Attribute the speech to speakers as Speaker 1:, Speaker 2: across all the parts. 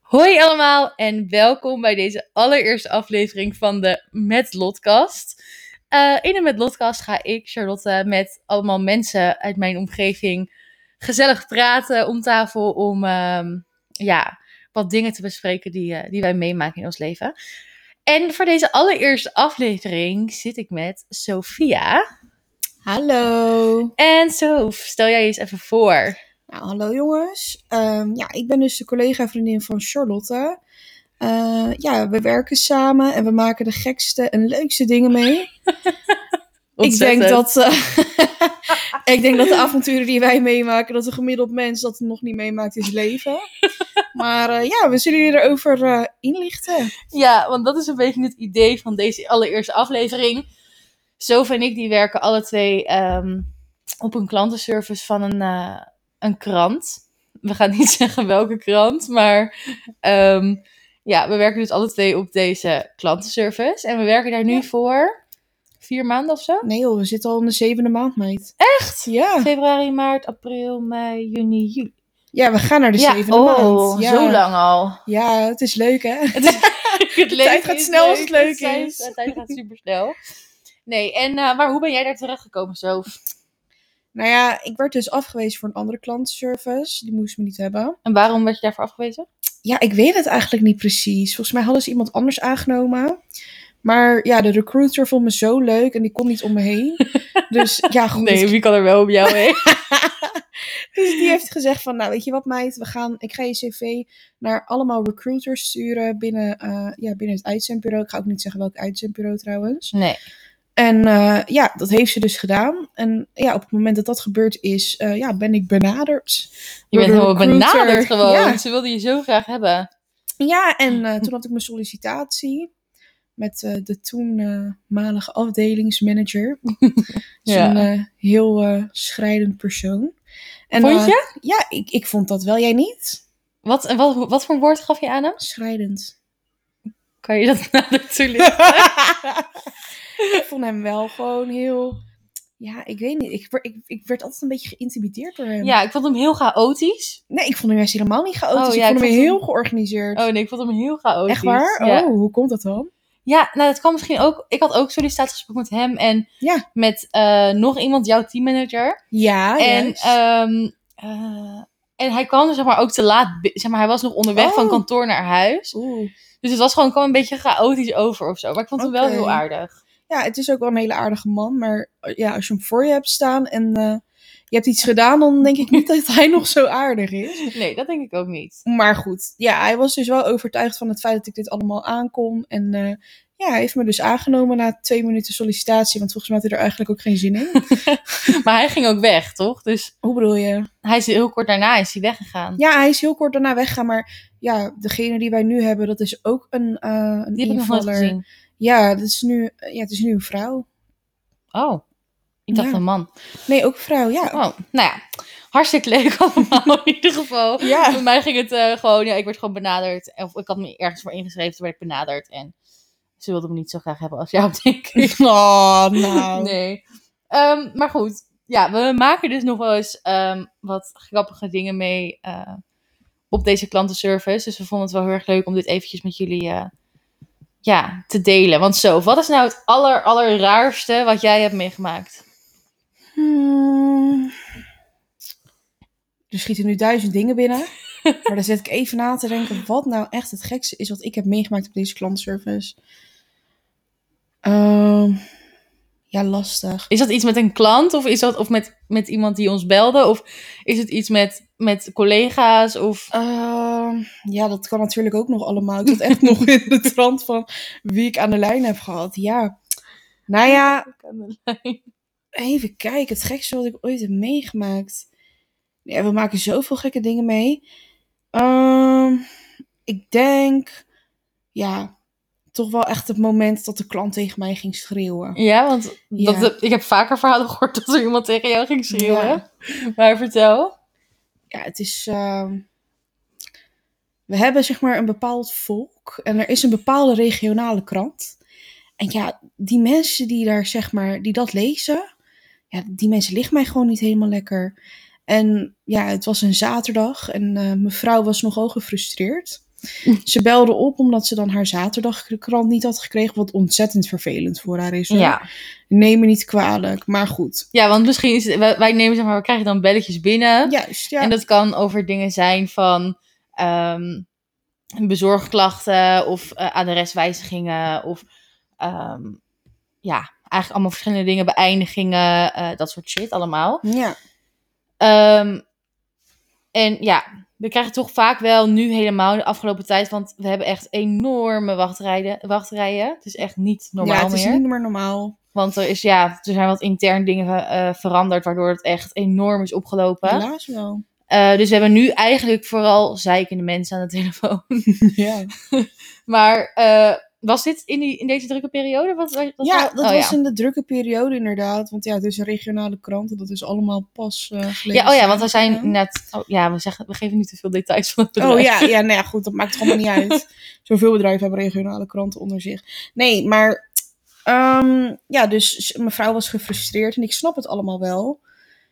Speaker 1: Hoi allemaal en welkom bij deze allereerste aflevering van de Met Lotkast. Eh, in de Met Lotkast ga ik, Charlotte, met allemaal mensen uit mijn omgeving gezellig praten om tafel om ehm, ja, wat dingen te bespreken die, eh, die wij meemaken in ons leven. En voor deze allereerste aflevering zit ik met Sophia.
Speaker 2: Hallo.
Speaker 1: En Sof, stel jij je eens even voor.
Speaker 2: Nou, hallo jongens. Ehm, ja, ik ben dus de collega vriendin van Charlotte. Eh, ja, we werken samen en we maken de gekste en leukste dingen mee. Ik
Speaker 1: Ontzettend.
Speaker 2: denk dat eh, ik denk dat de avonturen die wij meemaken, dat een gemiddeld mens dat nog niet meemaakt in zijn leven. Maar eh, ja, we zullen jullie erover eh, inlichten.
Speaker 1: Ja, want dat is een beetje het idee van deze allereerste aflevering. Sof en ik die werken alle twee ehm, op een klantenservice van een, eh, een krant. We gaan niet zeggen welke krant, maar ehm, ja, we werken dus alle twee op deze klantenservice. En we werken daar nu
Speaker 2: Ja.
Speaker 1: voor vier maanden of zo.
Speaker 2: Nee joh, we zitten al in de zevende maand, meid.
Speaker 1: Echt?
Speaker 2: Ja,
Speaker 1: Februari, maart, april, mei, juni, juli.
Speaker 2: ja we gaan naar de zevende
Speaker 1: oh,
Speaker 2: maand. Ja.
Speaker 1: zo lang al.
Speaker 2: Ja, het is leuk hè?
Speaker 1: Het, is- het leven
Speaker 2: gaat
Speaker 1: is
Speaker 2: snel als het leuk
Speaker 1: tijd-
Speaker 2: is.
Speaker 1: De tijd gaat super snel. Nee, en, eh, maar hoe ben jij daar terechtgekomen zo?
Speaker 2: Nou ja, ik werd dus afgewezen voor een andere klantenservice. Die moest me niet hebben.
Speaker 1: En waarom werd je daarvoor afgewezen?
Speaker 2: Ja, ik weet het eigenlijk niet precies. Volgens mij hadden ze iemand anders aangenomen. Maar ja, de recruiter vond me zo leuk en die kon niet om me heen. Dus ja, goed.
Speaker 1: wie kan er wel op jou heen?
Speaker 2: Dus die heeft gezegd van, nou weet je wat meid, we gaan, ik ga je cv naar allemaal recruiters sturen binnen, eh, ja, binnen het uitzendbureau. Ik ga ook niet zeggen welk uitzendbureau trouwens.
Speaker 1: Nee.
Speaker 2: En eh, ja, dat heeft ze dus gedaan. En ja, op het moment dat dat gebeurd is, eh, ja, ben ik benaderd.
Speaker 1: Je
Speaker 2: door
Speaker 1: bent
Speaker 2: de
Speaker 1: helemaal
Speaker 2: recruiter.
Speaker 1: benaderd gewoon.
Speaker 2: Ja,
Speaker 1: Ze wilden je zo graag hebben.
Speaker 2: Ja, en
Speaker 1: Mm.
Speaker 2: eh, toen had ik mijn sollicitatie met eh, de toenmalige afdelingsmanager.
Speaker 1: Ja.
Speaker 2: Zo'n eh, heel eh, schrijdend persoon. En,
Speaker 1: Vond
Speaker 2: eh,
Speaker 1: je?
Speaker 2: ja, ik, ik vond dat wel. Jij niet?
Speaker 1: Wat, en wat, wat voor woord gaf je aan hem?
Speaker 2: Schrijdend.
Speaker 1: Kan je dat nader toelichten?
Speaker 2: ik vond hem wel gewoon heel... Ja, ik weet niet. Ik, wer- ik, ik werd altijd een beetje geïntimideerd door hem.
Speaker 1: Ja, ik vond hem heel chaotisch.
Speaker 2: Nee, ik vond hem juist helemaal niet chaotisch.
Speaker 1: Oh,
Speaker 2: ik
Speaker 1: ja,
Speaker 2: vond
Speaker 1: ik
Speaker 2: hem
Speaker 1: vond
Speaker 2: heel
Speaker 1: hem-
Speaker 2: georganiseerd.
Speaker 1: Oh nee, ik vond hem heel chaotisch.
Speaker 2: Echt waar?
Speaker 1: Ja.
Speaker 2: Oh, hoe komt dat dan?
Speaker 1: Ja, nou dat kwam misschien ook. Ik had ook sollicitatiegesprek met hem en
Speaker 2: Ja.
Speaker 1: met eh, nog iemand, jouw teammanager.
Speaker 2: Ja,
Speaker 1: En,
Speaker 2: Oh, juist.
Speaker 1: ehm, eh, en hij kwam zeg maar ook te laat. bi- Zeg maar, hij was nog onderweg
Speaker 2: Oh.
Speaker 1: van kantoor naar huis.
Speaker 2: Oeh.
Speaker 1: Dus het was gewoon kwam een beetje chaotisch over of zo. Maar ik vond hem wel
Speaker 2: Oké.
Speaker 1: heel aardig.
Speaker 2: ja, het is ook wel een hele aardige man. Maar eh, ja, als je hem voor je hebt staan en eh, je hebt iets gedaan, dan denk ik niet dat hij nog zo aardig is.
Speaker 1: Nee, dat denk ik ook niet.
Speaker 2: Maar goed, ja, hij was dus wel overtuigd van het feit dat ik dit allemaal aankon. En eh, ja, hij heeft me dus aangenomen na twee minuten sollicitatie. Want volgens mij had hij er eigenlijk ook geen zin in.
Speaker 1: Maar hij ging ook weg, toch? Dus
Speaker 2: Hoe bedoel je?
Speaker 1: hij is heel kort daarna is hij weggegaan.
Speaker 2: Ja, hij is heel kort daarna weggegaan. Maar ja, degene die wij nu hebben, dat is ook een, eh een
Speaker 1: Die heb ik nog nooit
Speaker 2: invaller.
Speaker 1: gezien.
Speaker 2: Ja, dat is nu, eh, ja, het is nu een vrouw.
Speaker 1: Oh, ik dacht
Speaker 2: Ja.
Speaker 1: een man.
Speaker 2: Nee, ook een vrouw, ja.
Speaker 1: Oh, nou ja. Hartstikke leuk allemaal in ieder geval.
Speaker 2: Ja.
Speaker 1: Bij mij ging het eh, gewoon, ja, ik werd gewoon benaderd. Of ik had me ergens voor ingeschreven, toen werd ik benaderd. En ze wilden me niet zo graag hebben als jou, denk ik.
Speaker 2: Oh, nou.
Speaker 1: Nee. Ehm, maar goed, ja, we maken dus nog wel eens ehm, wat grappige dingen mee eh, op deze klantenservice. Dus we vonden het wel heel erg leuk om dit eventjes met jullie eh, ja, te delen. Want zo, wat is nou het aller, allerraarste wat jij hebt meegemaakt?
Speaker 2: Hmm. Er schieten nu duizend dingen binnen. maar daar zit ik even na te denken. Wat nou echt het gekste is wat ik heb meegemaakt op deze klantservice. Ehm, ja, lastig.
Speaker 1: Is dat iets met een klant of is dat of met, met iemand die ons belde? Of is het iets met, met collega's? Of...
Speaker 2: Ehm, ja, dat kan natuurlijk ook nog allemaal. Ik zat echt nog in de trant van wie ik aan de lijn heb gehad. Ja. Nou ja, Even kijken, het gekste wat ik ooit heb meegemaakt. Ja, we maken zoveel gekke dingen mee. Ehm, ik denk, ja, toch wel echt het moment dat de klant tegen mij ging schreeuwen.
Speaker 1: Ja, want
Speaker 2: Ja.
Speaker 1: Dat, ik heb vaker verhalen gehoord dat er iemand tegen jou ging schreeuwen.
Speaker 2: Ja.
Speaker 1: Maar vertel.
Speaker 2: Ja, het is. ehm, we hebben zeg maar een bepaald volk en er is een bepaalde regionale krant. En ja, die mensen die daar zeg maar, die dat lezen, ja, die mensen liggen mij gewoon niet helemaal lekker. En ja, het was een zaterdag en eh, mijn vrouw was nogal gefrustreerd. Ze belde op omdat ze dan haar zaterdagkrant niet had gekregen. Wat ontzettend vervelend voor haar is. hoor.
Speaker 1: Ja.
Speaker 2: Neem me niet kwalijk. Maar goed.
Speaker 1: ja, want misschien is het- wij, wij nemen zeg maar, we krijgen dan belletjes binnen.
Speaker 2: Juist, ja.
Speaker 1: En dat kan over dingen zijn van ehm, bezorgklachten of eh, adreswijzigingen of ehm, ja, eigenlijk allemaal verschillende dingen, beëindigingen, eh, dat soort shit allemaal.
Speaker 2: ja.
Speaker 1: Ehm, en ja, we krijgen toch vaak wel nu helemaal de afgelopen tijd, want we hebben echt enorme wachtrijden, wachtrijen. Het is echt niet normaal
Speaker 2: ja, het is
Speaker 1: meer.
Speaker 2: niet meer normaal.
Speaker 1: Want er, is, ja, er zijn wat intern dingen eh, veranderd, waardoor het echt enorm is opgelopen.
Speaker 2: Helaas wel.
Speaker 1: Eh, dus we hebben nu eigenlijk vooral zeikende mensen aan de telefoon.
Speaker 2: Ja.
Speaker 1: maar eh, was dit in, die, in deze drukke periode? Wat, wat- wat-
Speaker 2: Ja, dat
Speaker 1: oh,
Speaker 2: was
Speaker 1: ja.
Speaker 2: in de drukke periode inderdaad. Want ja, het is een regionale krant en dat is allemaal pas eh gelezen.
Speaker 1: Ja, oh ja, want we zijn
Speaker 2: Ja.
Speaker 1: net. Oh, ja, we, zeggen, we geven niet te veel details van het bedrijf.
Speaker 2: Oh ja, ja, nou ja, goed, dat maakt het allemaal niet uit. Zoveel bedrijven hebben regionale kranten onder zich. Nee, maar ehm, ja, dus s- mevrouw was gefrustreerd en ik snap het allemaal wel.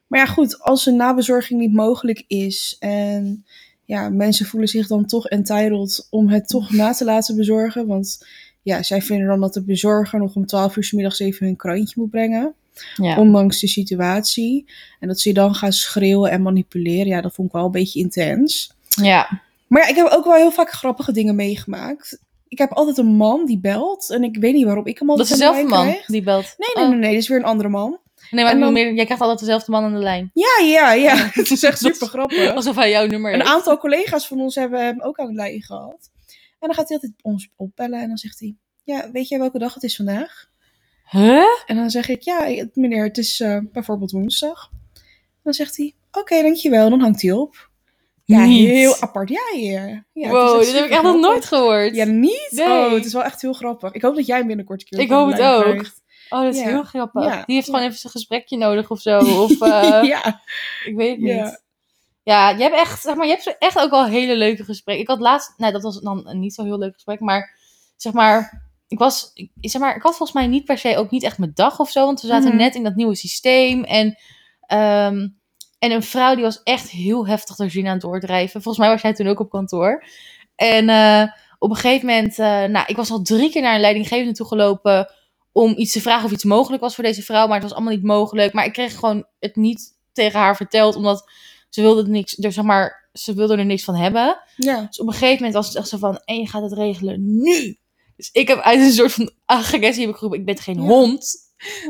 Speaker 2: Maar ja, goed, als een nabezorging niet mogelijk is en ja, mensen voelen zich dan toch entitled om het toch na te laten bezorgen, want ja, zij vinden dan dat de bezorger nog om 12 uur 's middags even hun krantje moet brengen.
Speaker 1: Ja.
Speaker 2: Ondanks de situatie. En dat ze je dan gaan schreeuwen en manipuleren. Ja, dat vond ik wel een beetje intens.
Speaker 1: ja.
Speaker 2: Maar ja, ik heb ook wel heel vaak grappige dingen meegemaakt. Ik heb altijd een man die belt. En ik weet niet waarom ik hem
Speaker 1: Dat
Speaker 2: altijd
Speaker 1: is
Speaker 2: aan de
Speaker 1: dezelfde
Speaker 2: lijn
Speaker 1: man
Speaker 2: krijg.
Speaker 1: die belt.
Speaker 2: Nee, nee,
Speaker 1: Oh.
Speaker 2: nee, nee. Dit is weer een andere man.
Speaker 1: Nee, maar ik
Speaker 2: En dan-
Speaker 1: bedoel meer, jij krijgt altijd dezelfde man aan de lijn.
Speaker 2: Ja, ja, ja. Het is echt
Speaker 1: Oh. Dat is-
Speaker 2: super grappig.
Speaker 1: Alsof hij jouw nummer
Speaker 2: Een
Speaker 1: heeft.
Speaker 2: aantal collega's van ons hebben hem ook aan de lijn gehad. En dan gaat hij altijd ons opbellen. En dan zegt hij... Ja, weet jij welke dag het is vandaag?
Speaker 1: Huh?
Speaker 2: En dan zeg ik, ja, het- meneer, het is eh, bijvoorbeeld woensdag. Dan zegt hij, oké, dankjewel. Dan hangt hij op. Ja,
Speaker 1: Niet.
Speaker 2: heel apart. Ja, ja. ja het is
Speaker 1: wow,
Speaker 2: echt
Speaker 1: dit heb ik echt nog
Speaker 2: supergrappig.
Speaker 1: nooit gehoord.
Speaker 2: Ja, niet?
Speaker 1: Nee.
Speaker 2: Oh, het is wel echt heel grappig. Ik hoop dat jij hem binnenkort een keer
Speaker 1: Ik
Speaker 2: op de
Speaker 1: hoop het
Speaker 2: lijn
Speaker 1: ook.
Speaker 2: krijgt.
Speaker 1: oh, dat is
Speaker 2: ja.
Speaker 1: heel grappig.
Speaker 2: Ja.
Speaker 1: Die heeft gewoon even zijn gesprekje nodig of zo. Of, eh,
Speaker 2: ja.
Speaker 1: Ik weet het
Speaker 2: Ja.
Speaker 1: niet. Ja, je hebt echt, zeg maar, je hebt zo echt ook al hele leuke gesprekken. Ik had laatst, nou, dat was dan een niet zo heel leuk gesprek, maar zeg maar, ik was, ik, zeg maar, ik had volgens mij niet per se ook niet echt mijn dag of zo, want we zaten
Speaker 2: Mhm.
Speaker 1: net in dat nieuwe systeem en, ehm, en een vrouw die was echt heel heftig door Gina aan het doordrijven. Volgens mij was jij toen ook op kantoor. En eh, op een gegeven moment, eh, nou, ik was al drie keer naar een leidinggevende toe gelopen om iets te vragen of iets mogelijk was voor deze vrouw, maar het was allemaal niet mogelijk. Maar ik kreeg gewoon het niet tegen haar verteld, omdat ze wilde er niks, er, zeg maar, ze wilde er niks van hebben.
Speaker 2: ja.
Speaker 1: Dus op een gegeven moment was het echt zo van, en je gaat het regelen nu. Dus ik heb uit een soort van agressie heb ik geroepen, ik ben geen
Speaker 2: Ja.
Speaker 1: hond.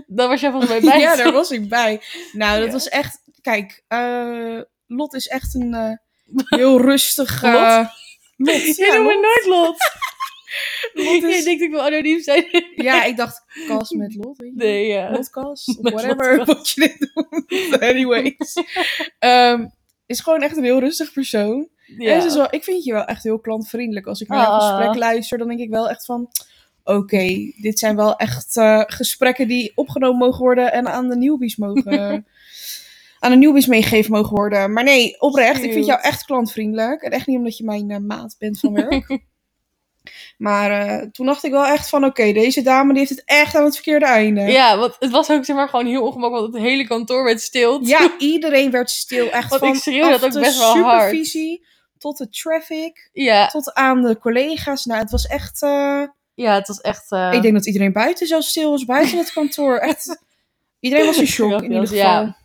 Speaker 1: Dan was jij volgens mij bij.
Speaker 2: Ja, daar was ik bij. Nou, dat
Speaker 1: Ja.
Speaker 2: was echt... Kijk, eh, Lot is echt een eh, heel rustig... eh,
Speaker 1: Lot?
Speaker 2: Lot,
Speaker 1: Je
Speaker 2: ja,
Speaker 1: noemt
Speaker 2: Lot.
Speaker 1: me nooit Lot.
Speaker 2: Lot is-
Speaker 1: Je denkt ik wil anoniem zijn.
Speaker 2: Ja, ik dacht, kast met Lot. weet je.
Speaker 1: Nee, ja.
Speaker 2: Podcast, of
Speaker 1: Met
Speaker 2: whatever,
Speaker 1: Lotkast.
Speaker 2: wat je dit doet. Anyways. Ehm, is gewoon echt een heel rustig persoon.
Speaker 1: Ja.
Speaker 2: En ze is wel, ik vind je wel echt heel klantvriendelijk. Als ik naar een
Speaker 1: Ah.
Speaker 2: gesprek luister, dan denk ik wel echt van... Oké, dit zijn wel echt eh, gesprekken die opgenomen mogen worden en aan de nieuwbies mogen... aan de nieuwbies meegegeven mogen worden. Maar nee, oprecht, ik vind jou echt klantvriendelijk. En echt niet omdat je mijn eh, maat bent van werk. maar eh, toen dacht ik wel echt van... Oké, deze dame die heeft het echt aan het verkeerde einde.
Speaker 1: Ja, want het was ook zeg maar gewoon heel ongemakkelijk, want het hele kantoor werd stil.
Speaker 2: Ja, iedereen werd stil. Echt
Speaker 1: Want ik
Speaker 2: van
Speaker 1: schreeuwde
Speaker 2: af
Speaker 1: dat ook
Speaker 2: de
Speaker 1: best wel hard.
Speaker 2: supervisie tot de traffic
Speaker 1: Ja,
Speaker 2: tot aan de collega's. Nou, het was echt. eh,
Speaker 1: ja het was echt... eh,
Speaker 2: Ik denk dat iedereen buiten zo stil was, buiten het kantoor. Echt. Iedereen was in shock in ieder
Speaker 1: Grapjes,
Speaker 2: geval.
Speaker 1: ja.
Speaker 2: Ja.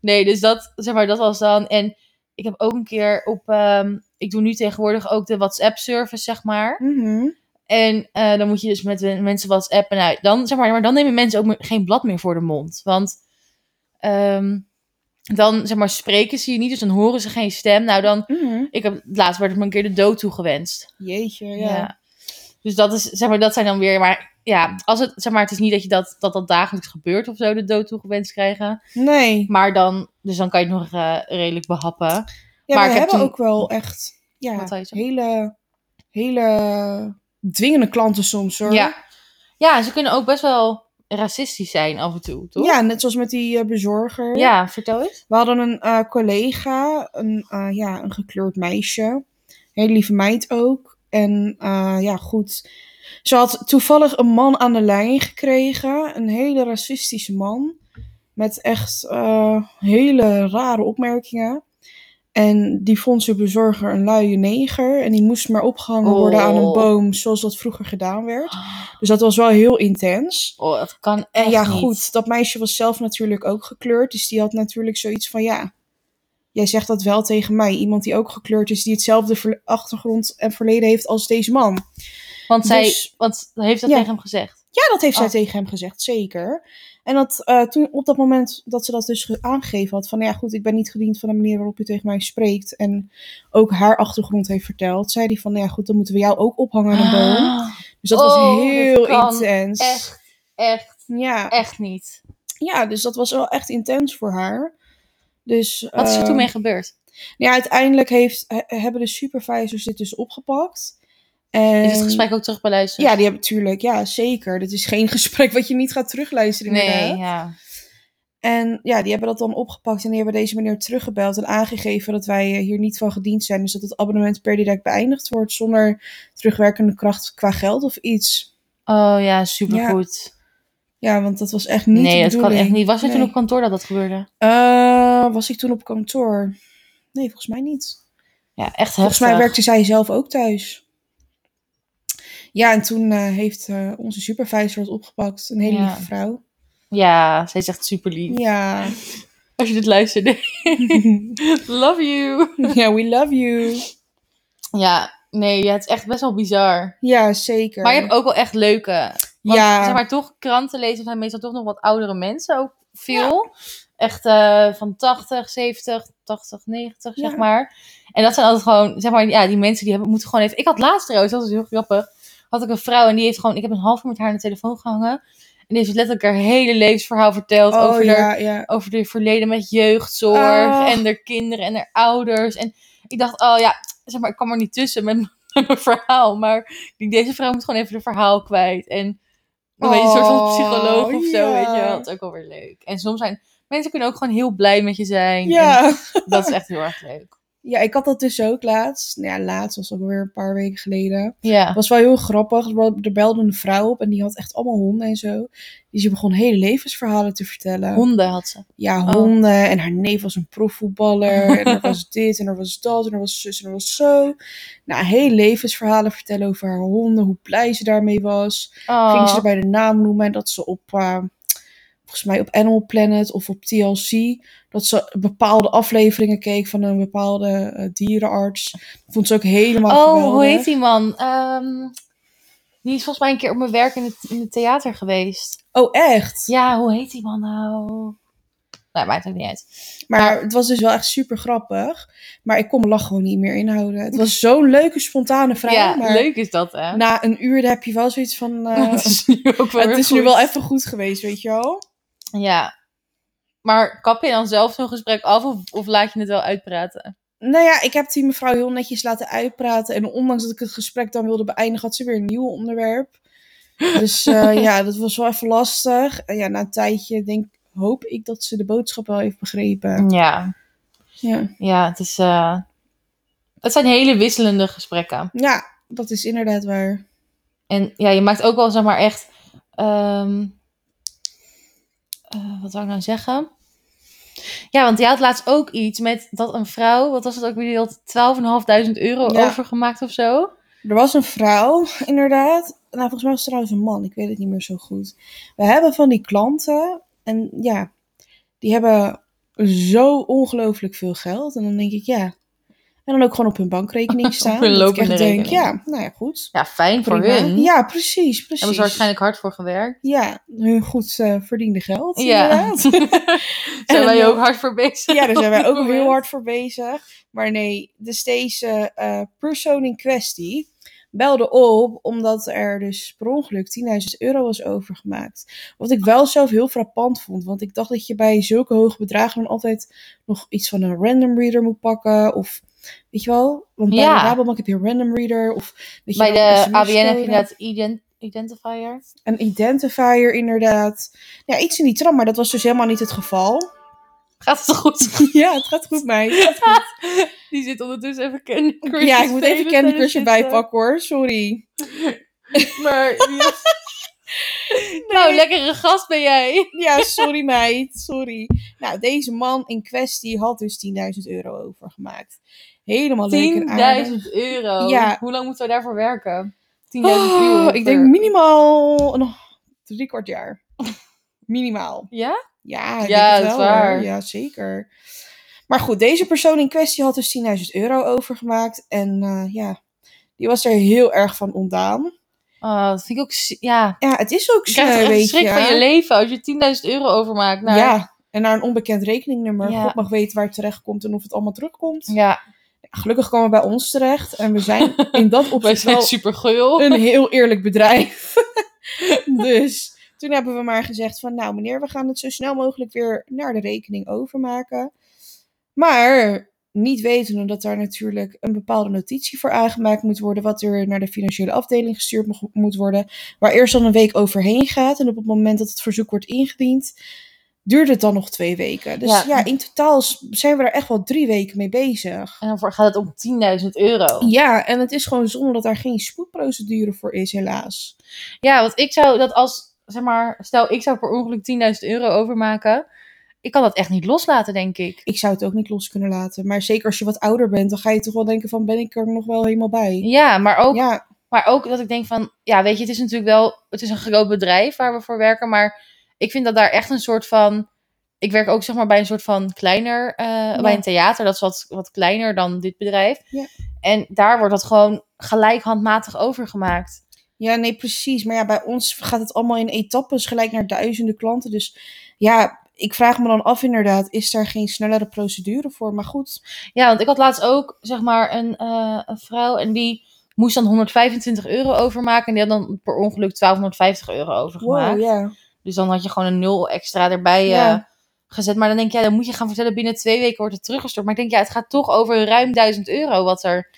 Speaker 1: Nee, dus dat, zeg maar, dat was dan. En ik heb ook een keer op. ehm, ik doe nu tegenwoordig ook de WhatsApp-service, zeg maar.
Speaker 2: Mhm,
Speaker 1: En eh, dan moet je dus met men- mensen WhatsAppen. Nou, dan, zeg maar, maar dan nemen mensen ook me- geen blad meer voor de mond. Want ehm, dan, zeg maar, spreken ze je niet. Dus dan horen ze geen stem. Nou, dan. Ik heb laatst werd ik me een keer de dood toegewenst.
Speaker 2: mhm. Jeetje, ja.
Speaker 1: Ja. Dus dat is, zeg maar, dat zijn dan weer. Maar ja, als het, zeg maar, het is niet dat je dat, dat, dat dagelijks gebeurt of zo, de dood toegewenst krijgen.
Speaker 2: Nee.
Speaker 1: Maar dan, dus dan kan je het nog eh, redelijk behappen.
Speaker 2: Ja,
Speaker 1: Maar
Speaker 2: we
Speaker 1: ik heb
Speaker 2: hebben
Speaker 1: toen-
Speaker 2: ook wel echt. Ja,
Speaker 1: Wat zei je zo?
Speaker 2: hele. Hele. Dwingende klanten soms hoor.
Speaker 1: Ja. ja, en ze kunnen ook best wel racistisch zijn af en toe, toch?
Speaker 2: Ja, net zoals met die eh, bezorger.
Speaker 1: Ja, vertel eens.
Speaker 2: We hadden een eh, collega, een, eh, ja, een gekleurd meisje. Een hele lieve meid ook. En eh, ja, goed. Ze had toevallig een man aan de lijn gekregen. Een hele racistische man. Met echt eh, hele rare opmerkingen. En die vond zijn bezorger een luie neger. En die moest maar opgehangen
Speaker 1: Oh.
Speaker 2: worden aan een boom, zoals dat vroeger gedaan werd. Dus dat was wel heel intens.
Speaker 1: Oh, dat kan echt
Speaker 2: En ja,
Speaker 1: niet.
Speaker 2: goed, dat meisje was zelf natuurlijk ook gekleurd. Dus die had natuurlijk zoiets van, ja, jij zegt dat wel tegen mij. Iemand die ook gekleurd is, die hetzelfde verle- achtergrond en verleden heeft als deze man.
Speaker 1: Want zij
Speaker 2: Dus-
Speaker 1: want, heeft dat
Speaker 2: Ja.
Speaker 1: tegen hem gezegd.
Speaker 2: Ja, dat heeft zij
Speaker 1: Ah.
Speaker 2: tegen hem gezegd, zeker. En dat, eh, toen, op dat moment dat ze dat dus ge- aangegeven had, van nou ja goed, ik ben niet gediend van de manier waarop u tegen mij spreekt. En ook haar achtergrond heeft verteld, zei hij van nou ja goed, dan moeten we jou ook ophangen aan een boom. Dus dat
Speaker 1: Ah. Oh,
Speaker 2: was
Speaker 1: dit
Speaker 2: heel
Speaker 1: kan
Speaker 2: intens.
Speaker 1: Echt, echt,
Speaker 2: Ja.
Speaker 1: echt niet.
Speaker 2: ja, dus dat was wel echt intens voor haar. Dus,
Speaker 1: Wat is er
Speaker 2: eh,
Speaker 1: toen mee gebeurd?
Speaker 2: Ja, uiteindelijk heeft, he- hebben de supervisors dit dus opgepakt. En,
Speaker 1: Is het gesprek ook terug beluisterd?
Speaker 2: eh, Ja, die hebben natuurlijk, ja zeker. Dit is geen gesprek wat je niet gaat terugluisteren inderdaad.
Speaker 1: Nee, ja.
Speaker 2: En ja, die hebben dat dan opgepakt en die hebben deze meneer teruggebeld en aangegeven dat wij eh, hier niet van gediend zijn. Dus dat het abonnement per direct beëindigd wordt zonder terugwerkende kracht qua geld of iets.
Speaker 1: Oh ja, supergoed.
Speaker 2: Ja, want dat was echt niet
Speaker 1: nee,
Speaker 2: de
Speaker 1: dat kan
Speaker 2: bedoeling.
Speaker 1: echt niet. Was je toen
Speaker 2: Nee.
Speaker 1: op kantoor dat dat gebeurde?
Speaker 2: Eh, was ik toen op kantoor? Nee, volgens mij niet.
Speaker 1: Ja, echt
Speaker 2: Volgens
Speaker 1: heftig.
Speaker 2: mij werkte zij zelf ook thuis. Ja, en toen eh, heeft eh, onze supervisor het opgepakt. Een hele
Speaker 1: Ja.
Speaker 2: lieve vrouw.
Speaker 1: Ja, zij is echt super lief.
Speaker 2: Ja.
Speaker 1: Als je dit luistert, love you.
Speaker 2: ja, we love you.
Speaker 1: Ja, nee, ja, het is echt best wel bizar.
Speaker 2: Ja, zeker.
Speaker 1: Maar je hebt ook wel echt leuke. Want,
Speaker 2: ja.
Speaker 1: zeg maar, toch, krantenlezers zijn meestal toch nog wat oudere mensen ook veel. Echt eh, van 80, 70, 80, 90,
Speaker 2: Ja.
Speaker 1: zeg maar. En dat zijn altijd gewoon, zeg maar, ja, die mensen die hebben, moeten gewoon even... Ik had laatst trouwens, dat is heel grappig, had ik een vrouw en die heeft gewoon... Ik heb een half uur met haar aan de telefoon gehangen. En die heeft letterlijk haar hele levensverhaal verteld
Speaker 2: oh,
Speaker 1: over haar
Speaker 2: ja, ja.
Speaker 1: over de verleden met jeugdzorg
Speaker 2: Ah.
Speaker 1: en haar kinderen en haar ouders. En ik dacht, oh ja, zeg maar, ik kwam er niet tussen met, m- met mijn verhaal. Maar ik denk, deze vrouw moet gewoon even haar verhaal kwijt. En dan ben je een soort van
Speaker 2: Oh,
Speaker 1: psycholoog of zo,
Speaker 2: ja.
Speaker 1: weet je wel. Dat is ook wel weer leuk. En soms zijn mensen kunnen ook gewoon heel blij met je zijn. En
Speaker 2: Ja.
Speaker 1: dat is echt heel erg leuk.
Speaker 2: ja, ik had dat dus ook laatst. Nou ja, laatst was alweer een paar weken geleden. Het
Speaker 1: Ja.
Speaker 2: was wel heel grappig. Er wa- er belde een vrouw op en die had echt allemaal honden en zo. Dus die begon hele levensverhalen te vertellen.
Speaker 1: Honden had ze.
Speaker 2: ja,
Speaker 1: Oh.
Speaker 2: honden. En haar neef was een profvoetballer. en er was dit en er was dat en er was zus en er was zo. Nou, heel levensverhalen vertellen over haar honden. Hoe blij ze daarmee was.
Speaker 1: Oh.
Speaker 2: Ging ze er bij de naam noemen en dat ze op... eh, Volgens mij op Animal Planet of op TLC. Dat ze bepaalde afleveringen keek van een bepaalde eh, dierenarts. Dat vond ze ook helemaal
Speaker 1: oh,
Speaker 2: geweldig.
Speaker 1: hoe heet die man? Ehm, die is volgens mij een keer op mijn werk in het, in het theater geweest.
Speaker 2: Oh, echt?
Speaker 1: Ja, hoe heet die man nou? Nou, maakt ook niet uit.
Speaker 2: Maar het was dus wel echt super grappig. Maar ik kon mijn lach gewoon niet meer inhouden. Het was zo'n leuke, spontane vraag.
Speaker 1: ja,
Speaker 2: maar...
Speaker 1: leuk is dat, hè?
Speaker 2: na een uur heb je wel zoiets van. eh,
Speaker 1: Nou, het is nu ook wel
Speaker 2: het
Speaker 1: weer
Speaker 2: is nu
Speaker 1: goed.
Speaker 2: wel even goed geweest, weet je wel?
Speaker 1: Ja. Maar kap je dan zelf zo'n gesprek af of, of laat je het wel uitpraten?
Speaker 2: Nou ja, ik heb die mevrouw heel netjes laten uitpraten. En ondanks dat ik het gesprek dan wilde beëindigen, had ze weer een nieuw onderwerp. Dus eh, ja, dat was wel even lastig. En ja, na een tijdje denk, hoop ik dat ze de boodschap wel heeft begrepen.
Speaker 1: Ja.
Speaker 2: Ja,
Speaker 1: Ja, het is... eh, Het zijn hele wisselende gesprekken.
Speaker 2: ja dat is inderdaad waar.
Speaker 1: En ja, je maakt ook wel, zeg maar, echt... ehm, eh, wat wou ik nou zeggen? Ja, want jij had laatst ook iets met dat een vrouw... Wat was het ook weer? Die had 12.500 euro
Speaker 2: Ja.
Speaker 1: overgemaakt of zo.
Speaker 2: Er was een vrouw, inderdaad. Nou, volgens mij was het trouwens een man. Ik weet het niet meer zo goed. We hebben van die klanten. En ja, die hebben zo ongelooflijk veel geld. En dan denk ik, ja. En dan ook gewoon op hun bankrekening staan.
Speaker 1: hun
Speaker 2: Dat ik
Speaker 1: lopende
Speaker 2: echt denk,
Speaker 1: rekening.
Speaker 2: ja, nou ja, goed.
Speaker 1: Ja, fijn voor
Speaker 2: Prima.
Speaker 1: hun.
Speaker 2: Ja, precies, precies.
Speaker 1: Hebben ze waarschijnlijk hard voor gewerkt.
Speaker 2: Ja, hun goed eh, verdiende geld,
Speaker 1: Ja.
Speaker 2: inderdaad.
Speaker 1: Zijn
Speaker 2: En,
Speaker 1: wij
Speaker 2: eh,
Speaker 1: ook hard voor bezig?
Speaker 2: Ja, daar zijn wij
Speaker 1: op dit
Speaker 2: ook heel
Speaker 1: moment.
Speaker 2: hard voor bezig. Maar nee, dus deze eh, persoon in kwestie belde op omdat er dus per ongeluk 10.000 euro was overgemaakt. Wat ik wel zelf heel frappant vond, want ik dacht dat je bij zulke hoge bedragen dan altijd nog iets van een random reader moet pakken of... Weet je wel? Want bij
Speaker 1: Ja.
Speaker 2: de Rabobank heb je een random reader. Of dat je
Speaker 1: Bij
Speaker 2: dan
Speaker 1: de
Speaker 2: SMS
Speaker 1: ABN heb je
Speaker 2: code-
Speaker 1: inderdaad ident identifier.
Speaker 2: Een identifier inderdaad. Ja, iets in die trant, maar dat was dus helemaal niet het geval.
Speaker 1: Gaat het toch goed?
Speaker 2: Ja, het gaat goed, meid.
Speaker 1: Die zit ondertussen even Candy Crush
Speaker 2: ja,
Speaker 1: te
Speaker 2: ik moet
Speaker 1: spelen eh,
Speaker 2: even Candy
Speaker 1: tijdens
Speaker 2: Crush
Speaker 1: dit,
Speaker 2: erbij
Speaker 1: eh,
Speaker 2: pakken hoor, sorry.
Speaker 1: Maar die is, Nou, lekkere gast ben jij.
Speaker 2: Ja, sorry meid, sorry. Nou, deze man in kwestie had dus 10.000 euro overgemaakt. Helemaal leuk en aardig.
Speaker 1: 10.000 euro.
Speaker 2: Ja.
Speaker 1: Hoe lang moeten we daarvoor werken? 10.000
Speaker 2: Oh,
Speaker 1: euro.
Speaker 2: ik
Speaker 1: per-
Speaker 2: denk minimaal nog drie kwart jaar. Minimaal.
Speaker 1: Ja?
Speaker 2: Ja, ik
Speaker 1: Ja,
Speaker 2: denk het
Speaker 1: dat is
Speaker 2: wel, hoor.
Speaker 1: waar.
Speaker 2: Ja, zeker. Maar goed, deze persoon in kwestie had dus 10.000 euro overgemaakt. En eh, ja, die was er heel erg van ontdaan.
Speaker 1: Oh, dat vind ik ook... zi- Ja.
Speaker 2: Ja, het is ook
Speaker 1: Je
Speaker 2: zo,
Speaker 1: krijgt toch echt
Speaker 2: weet
Speaker 1: schrik
Speaker 2: je.
Speaker 1: van je leven als je 10.000 euro overmaakt. Nou, Naar...
Speaker 2: Ja, en naar een onbekend rekeningnummer.
Speaker 1: Ja.
Speaker 2: God mag weten waar het terecht komt en of het allemaal terugkomt.
Speaker 1: Ja,
Speaker 2: Gelukkig kwamen we bij ons terecht. En we zijn in dat
Speaker 1: wij
Speaker 2: opzicht
Speaker 1: zijn
Speaker 2: wel
Speaker 1: super geul.
Speaker 2: een heel eerlijk bedrijf. dus toen hebben we maar gezegd van... Nou meneer, we gaan het zo snel mogelijk weer naar de rekening overmaken. Maar niet wetende dat daar natuurlijk een bepaalde notitie voor aangemaakt moet worden... wat er naar de financiële afdeling gestuurd mag- moet worden... waar eerst dan een week overheen gaat. En op het moment dat het verzoek wordt ingediend... duurde het dan nog twee weken. Dus
Speaker 1: Ja.
Speaker 2: ja, in totaal s- zijn we er echt wel drie weken mee bezig.
Speaker 1: En dan voor- gaat het om 10.000 euro.
Speaker 2: Ja, en het is gewoon zonde dat daar geen spoedprocedure voor is, helaas.
Speaker 1: Ja, want ik zou dat als, zeg maar, stel ik zou per ongeluk 10.000 euro overmaken. Ik kan dat echt niet loslaten, denk ik.
Speaker 2: Ik zou het ook niet los kunnen laten. Maar zeker als je wat ouder bent, dan ga je toch wel denken van, ben ik er nog wel helemaal bij?
Speaker 1: Ja, maar ook,
Speaker 2: Ja,
Speaker 1: maar ook dat ik denk van, ja, weet je, het is natuurlijk wel, het is een groot bedrijf waar we voor werken. Maar ik vind dat daar echt een soort van, ik werk ook zeg maar bij een soort van kleiner, eh, bij een theater. Dat is wat, wat kleiner dan dit bedrijf.
Speaker 2: Ja.
Speaker 1: En daar wordt dat gewoon gelijk handmatig overgemaakt.
Speaker 2: ja, nee, precies. Maar ja, bij ons gaat het allemaal in etappes gelijk naar duizenden klanten. Dus ja, ik vraag me dan af inderdaad, is daar geen snellere procedure voor? Maar goed,
Speaker 1: Ja, want ik had laatst ook, zeg maar, een, eh, een vrouw en die moest dan 125 euro overmaken. En die had dan per ongeluk 1250 euro overgemaakt.
Speaker 2: wow, ja.
Speaker 1: Dus dan had je gewoon een nul extra erbij eh,
Speaker 2: Ja.
Speaker 1: gezet. Maar dan denk je, ja, dan moet je gaan vertellen, binnen twee weken wordt het teruggestort. Maar ik denk, ja, het gaat toch over ruim 1000 euro wat er,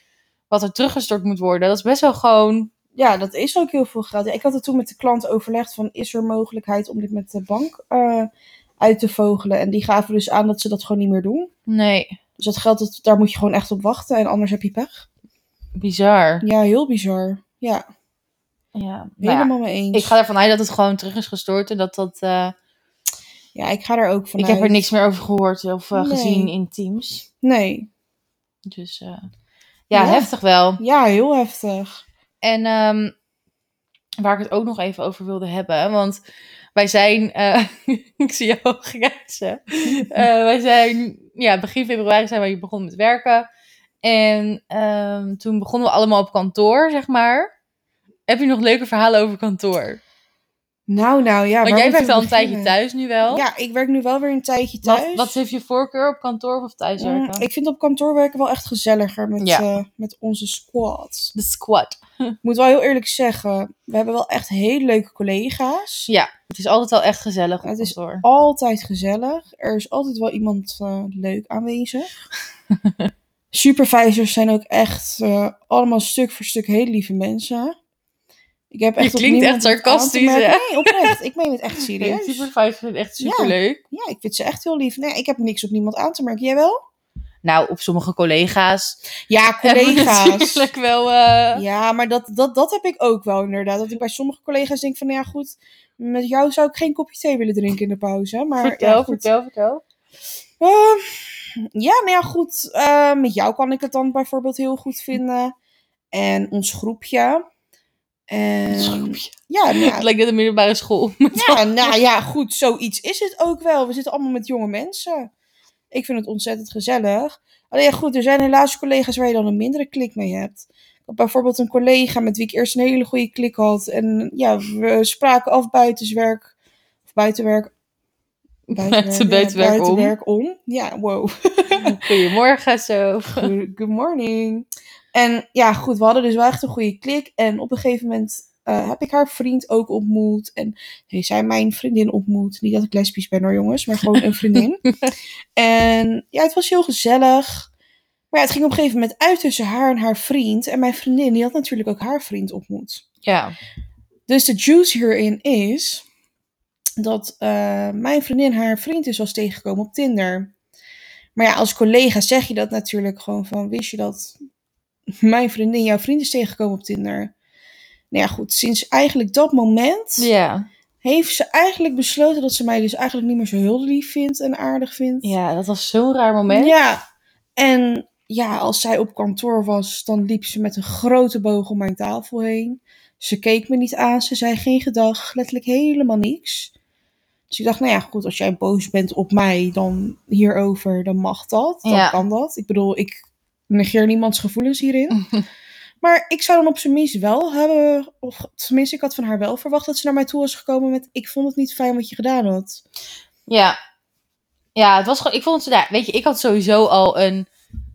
Speaker 1: wat er teruggestort moet worden. Dat is best wel gewoon...
Speaker 2: Ja, dat is ook heel veel geld. Ja, ik had het toen met de klant overlegd van, is er mogelijkheid om dit met de bank eh, uit te vogelen? En die gaven dus aan dat ze dat gewoon niet meer doen.
Speaker 1: Nee,
Speaker 2: Dus dat geld, dat, daar moet je gewoon echt op wachten. En anders heb je pech.
Speaker 1: bizar.
Speaker 2: Ja, heel bizar. Ja,
Speaker 1: Ja, nou ja,
Speaker 2: helemaal mee eens.
Speaker 1: Ik ga ervan uit dat het gewoon terug is gestort en dat dat... eh,
Speaker 2: Ja, ik ga er ook van
Speaker 1: ik heb er niks meer over gehoord of eh,
Speaker 2: Nee.
Speaker 1: gezien in Teams.
Speaker 2: Nee.
Speaker 1: Dus eh, ja,
Speaker 2: Ja.
Speaker 1: heftig wel.
Speaker 2: Ja, heel heftig.
Speaker 1: En ehm, waar ik het ook nog even over wilde hebben, want wij zijn, eh, ik zie jou al grijzen. Eh, wij zijn, ja, begin februari zijn wij begonnen met werken. En ehm, toen begonnen we allemaal op kantoor, zeg maar. Heb je nog leuke verhalen over kantoor?
Speaker 2: Nou, nou ja.
Speaker 1: Want
Speaker 2: waar
Speaker 1: jij
Speaker 2: moeten
Speaker 1: werkt
Speaker 2: we
Speaker 1: al een tijdje
Speaker 2: beginnen?
Speaker 1: thuis nu wel.
Speaker 2: Ja, ik werk nu wel weer een tijdje thuis.
Speaker 1: Wat, wat heeft je voorkeur op kantoor of
Speaker 2: Mm,
Speaker 1: thuiswerken?
Speaker 2: ik vind op kantoor werken wel echt gezelliger met,
Speaker 1: Ja.
Speaker 2: eh, met onze squad.
Speaker 1: De squad.
Speaker 2: Ik moet wel heel eerlijk zeggen, we hebben wel echt hele leuke collega's.
Speaker 1: Ja. Het is altijd wel echt gezellig op
Speaker 2: Het is-
Speaker 1: kantoor.
Speaker 2: Altijd gezellig. Er is altijd wel iemand eh, leuk aanwezig. Supervisors zijn ook echt eh, allemaal stuk voor stuk hele lieve mensen. Ik heb echt op
Speaker 1: klinkt
Speaker 2: niemand
Speaker 1: echt
Speaker 2: wat aan te
Speaker 1: sarcastisch,
Speaker 2: merken.
Speaker 1: hè?
Speaker 2: Nee, oprecht. Ik meen het echt serieus.
Speaker 1: Supervisors zijn echt
Speaker 2: Ja.
Speaker 1: superleuk.
Speaker 2: Ja, ik vind ze echt heel lief. Nee, ik heb niks op niemand aan te merken. Jij wel?
Speaker 1: Nou, op sommige collega's.
Speaker 2: Ja,
Speaker 1: hebben
Speaker 2: collega's.
Speaker 1: Natuurlijk wel. eh,
Speaker 2: Ja, maar dat, dat, dat heb ik ook wel inderdaad. Dat ik bij sommige collega's denk van, nou ja goed, met jou zou ik geen kopje thee willen drinken in de pauze. Maar, ja, goed.
Speaker 1: vertel.
Speaker 2: Ehm, ja, nou ja, goed. eh, met jou kan ik het dan bijvoorbeeld heel goed vinden. En ons groepje.
Speaker 1: Eh,
Speaker 2: En, Ja, nou ja,
Speaker 1: Het lijkt net een middelbare school.
Speaker 2: ja, nou ja, goed. Zoiets is het ook wel. We zitten allemaal met jonge mensen. Ik vind het ontzettend gezellig. Alleen ja, goed, er zijn helaas collega's waar je dan een mindere klik mee hebt. Ik had Bijvoorbeeld een collega met wie ik eerst een hele goede klik had. En ja, we spraken af buitenswerk. Of buitenwerk.
Speaker 1: Buiten- buitenwerk om.
Speaker 2: buitenwerk om. Ja, wow.
Speaker 1: Goedemorgen zo.
Speaker 2: Good, good morning. En ja, goed, we hadden dus wel echt een goede klik. En op een gegeven moment eh, heb ik haar vriend ook ontmoet. En heeft zij mijn vriendin ontmoet. Niet dat ik lesbisch ben hoor, jongens, maar gewoon een vriendin. en ja, het was heel gezellig. Maar ja, het ging op een gegeven moment uit tussen haar en haar vriend. En mijn vriendin, die had natuurlijk ook haar vriend ontmoet.
Speaker 1: Ja.
Speaker 2: Dus de juice hierin is dat eh, mijn vriendin haar vriend dus was tegengekomen op Tinder. Maar ja, als collega zeg je dat natuurlijk gewoon van, wist je dat mijn vriendin jouw vriend is tegengekomen op Tinder? Nou ja, goed, sinds eigenlijk dat moment
Speaker 1: Ja.
Speaker 2: heeft ze eigenlijk besloten dat ze mij dus eigenlijk niet meer zo heel lief vindt en aardig vindt.
Speaker 1: ja, dat was zo'n raar moment.
Speaker 2: Ja. En ja, als zij op kantoor was, dan liep ze met een grote boog om mijn tafel heen. Ze keek me niet aan, ze zei geen gedag, letterlijk helemaal niks. Dus ik dacht, nou ja, goed, als jij boos bent op mij, dan hierover, dan mag dat. Dan
Speaker 1: Ja.
Speaker 2: kan dat. Ik bedoel, ik negeer niemands gevoelens hierin. Maar ik zou dan op zijn minst wel hebben, of tenminste, ik had van haar wel verwacht dat ze naar mij toe was gekomen met: Ik vond het niet fijn wat je gedaan had.
Speaker 1: Ja. Ja, het was gewoon, ik vond het, ja, weet je, ik had sowieso al een,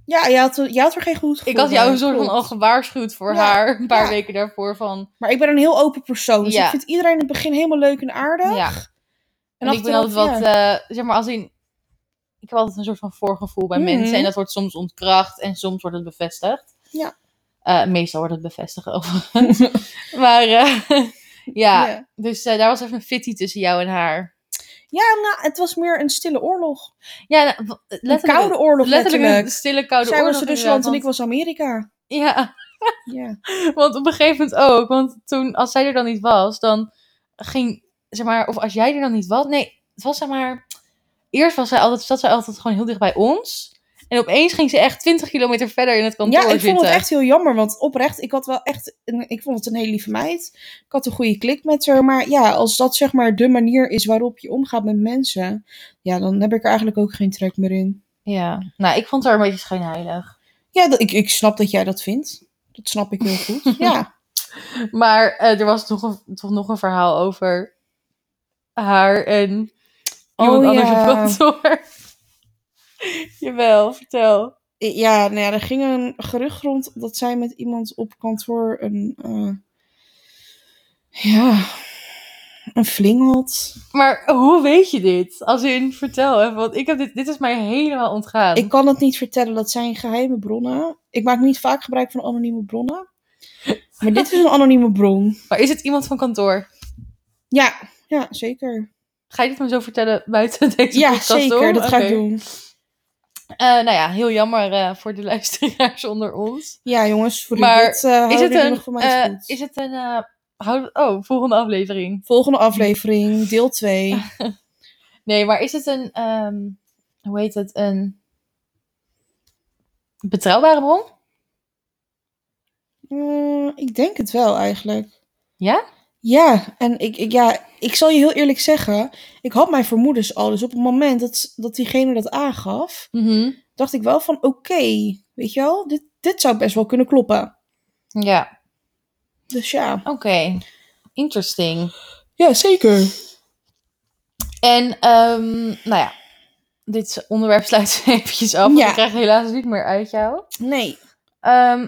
Speaker 2: Ja, je had, je had er geen goed gevoel
Speaker 1: ik had jou
Speaker 2: bij,
Speaker 1: een soort van
Speaker 2: klopt.
Speaker 1: al gewaarschuwd voor
Speaker 2: Ja,
Speaker 1: haar, een paar
Speaker 2: ja.
Speaker 1: weken daarvoor van,
Speaker 2: Maar ik ben een heel open persoon. Dus
Speaker 1: Ja.
Speaker 2: ik vind iedereen in het begin helemaal leuk en aardig.
Speaker 1: ja. En, ik ben
Speaker 2: achteraf,
Speaker 1: altijd wat,
Speaker 2: ja.
Speaker 1: eh, zeg maar, als in, ik heb altijd een soort van voorgevoel bij
Speaker 2: Mhm.
Speaker 1: mensen en dat wordt soms ontkracht en soms wordt het bevestigd.
Speaker 2: Ja.
Speaker 1: Eh, meestal wordt het bevestigd overigens. maar eh, ja,
Speaker 2: Ja.
Speaker 1: dus eh, daar was even een fitty tussen jou en haar.
Speaker 2: Ja, nou, het was meer een stille oorlog.
Speaker 1: Ja, nou, w-
Speaker 2: Een
Speaker 1: letterlijk,
Speaker 2: koude oorlog
Speaker 1: letterlijk
Speaker 2: letterlijk.
Speaker 1: een stille koude
Speaker 2: Zij
Speaker 1: oorlog.
Speaker 2: was Rusland en ik
Speaker 1: inderdaad,
Speaker 2: was Amerika.
Speaker 1: want- Ja.
Speaker 2: Ja.
Speaker 1: Want op een gegeven moment ook. Want toen, als zij er dan niet was, dan ging, zeg maar, of als jij er dan niet was. Nee, het was zeg maar. Eerst was zij altijd, zat zij altijd gewoon heel dicht bij ons. En opeens ging ze echt 20 kilometer verder in het kantoor
Speaker 2: ja, ik
Speaker 1: zitten.
Speaker 2: vond het echt heel jammer. Want oprecht, ik had wel echt... Een, ik vond het een hele lieve meid. Ik had een goede klik met haar. Maar ja, als dat zeg maar de manier is waarop je omgaat met mensen... Ja, dan heb ik er eigenlijk ook geen trek meer in.
Speaker 1: Ja, nou, ik vond haar een beetje schijnheilig.
Speaker 2: Ja, dat, ik, ik snap dat jij dat vindt. Dat snap ik heel goed. ja.
Speaker 1: Maar eh, er was toch, een, toch nog een verhaal over haar en iemand
Speaker 2: Oh,
Speaker 1: anders
Speaker 2: ja.
Speaker 1: op kantoor. Jawel, vertel.
Speaker 2: Ja, nou ja, er ging een gerucht rond dat zij met iemand op kantoor een. eh, ja. Een fling had.
Speaker 1: Maar hoe weet je dit? Als in, vertel even, want ik heb dit, dit is mij helemaal ontgaan.
Speaker 2: Ik kan het niet vertellen, dat zijn geheime bronnen. Ik maak niet vaak gebruik van anonieme bronnen. Maar dit is een anonieme bron.
Speaker 1: Maar is het iemand van kantoor?
Speaker 2: Ja, ja zeker.
Speaker 1: Ga je dit me zo vertellen buiten deze
Speaker 2: Ja,
Speaker 1: podcast
Speaker 2: zeker.
Speaker 1: om?
Speaker 2: Dat ga ik
Speaker 1: Oké.
Speaker 2: doen.
Speaker 1: Eh, nou ja, heel jammer eh, voor de luisteraars onder ons.
Speaker 2: Ja, jongens, voor
Speaker 1: Maar
Speaker 2: dit eh
Speaker 1: Is
Speaker 2: houden
Speaker 1: het,
Speaker 2: jullie
Speaker 1: een,
Speaker 2: nog van mij
Speaker 1: eh,
Speaker 2: goed.
Speaker 1: is het een... eh, hou- oh, volgende aflevering.
Speaker 2: Volgende aflevering, deel 2.
Speaker 1: Nee, maar is het een... ehm, hoe heet het? Een betrouwbare bron?
Speaker 2: Eh, ik denk het wel eigenlijk.
Speaker 1: Ja?
Speaker 2: Ja, en ik, ik, ja, ik zal je heel eerlijk zeggen, ik had mijn vermoedens al. Dus op het moment dat, dat diegene dat aangaf, dacht ik wel van oké, weet je wel, dit, dit zou best wel kunnen kloppen.
Speaker 1: Ja,
Speaker 2: Dus ja.
Speaker 1: oké. Interesting.
Speaker 2: Ja, zeker.
Speaker 1: En, ehm, nou ja, dit onderwerp sluit eventjes af. Want
Speaker 2: Ja.
Speaker 1: Ik krijg het helaas niet meer uit jou.
Speaker 2: Nee.
Speaker 1: Ehm,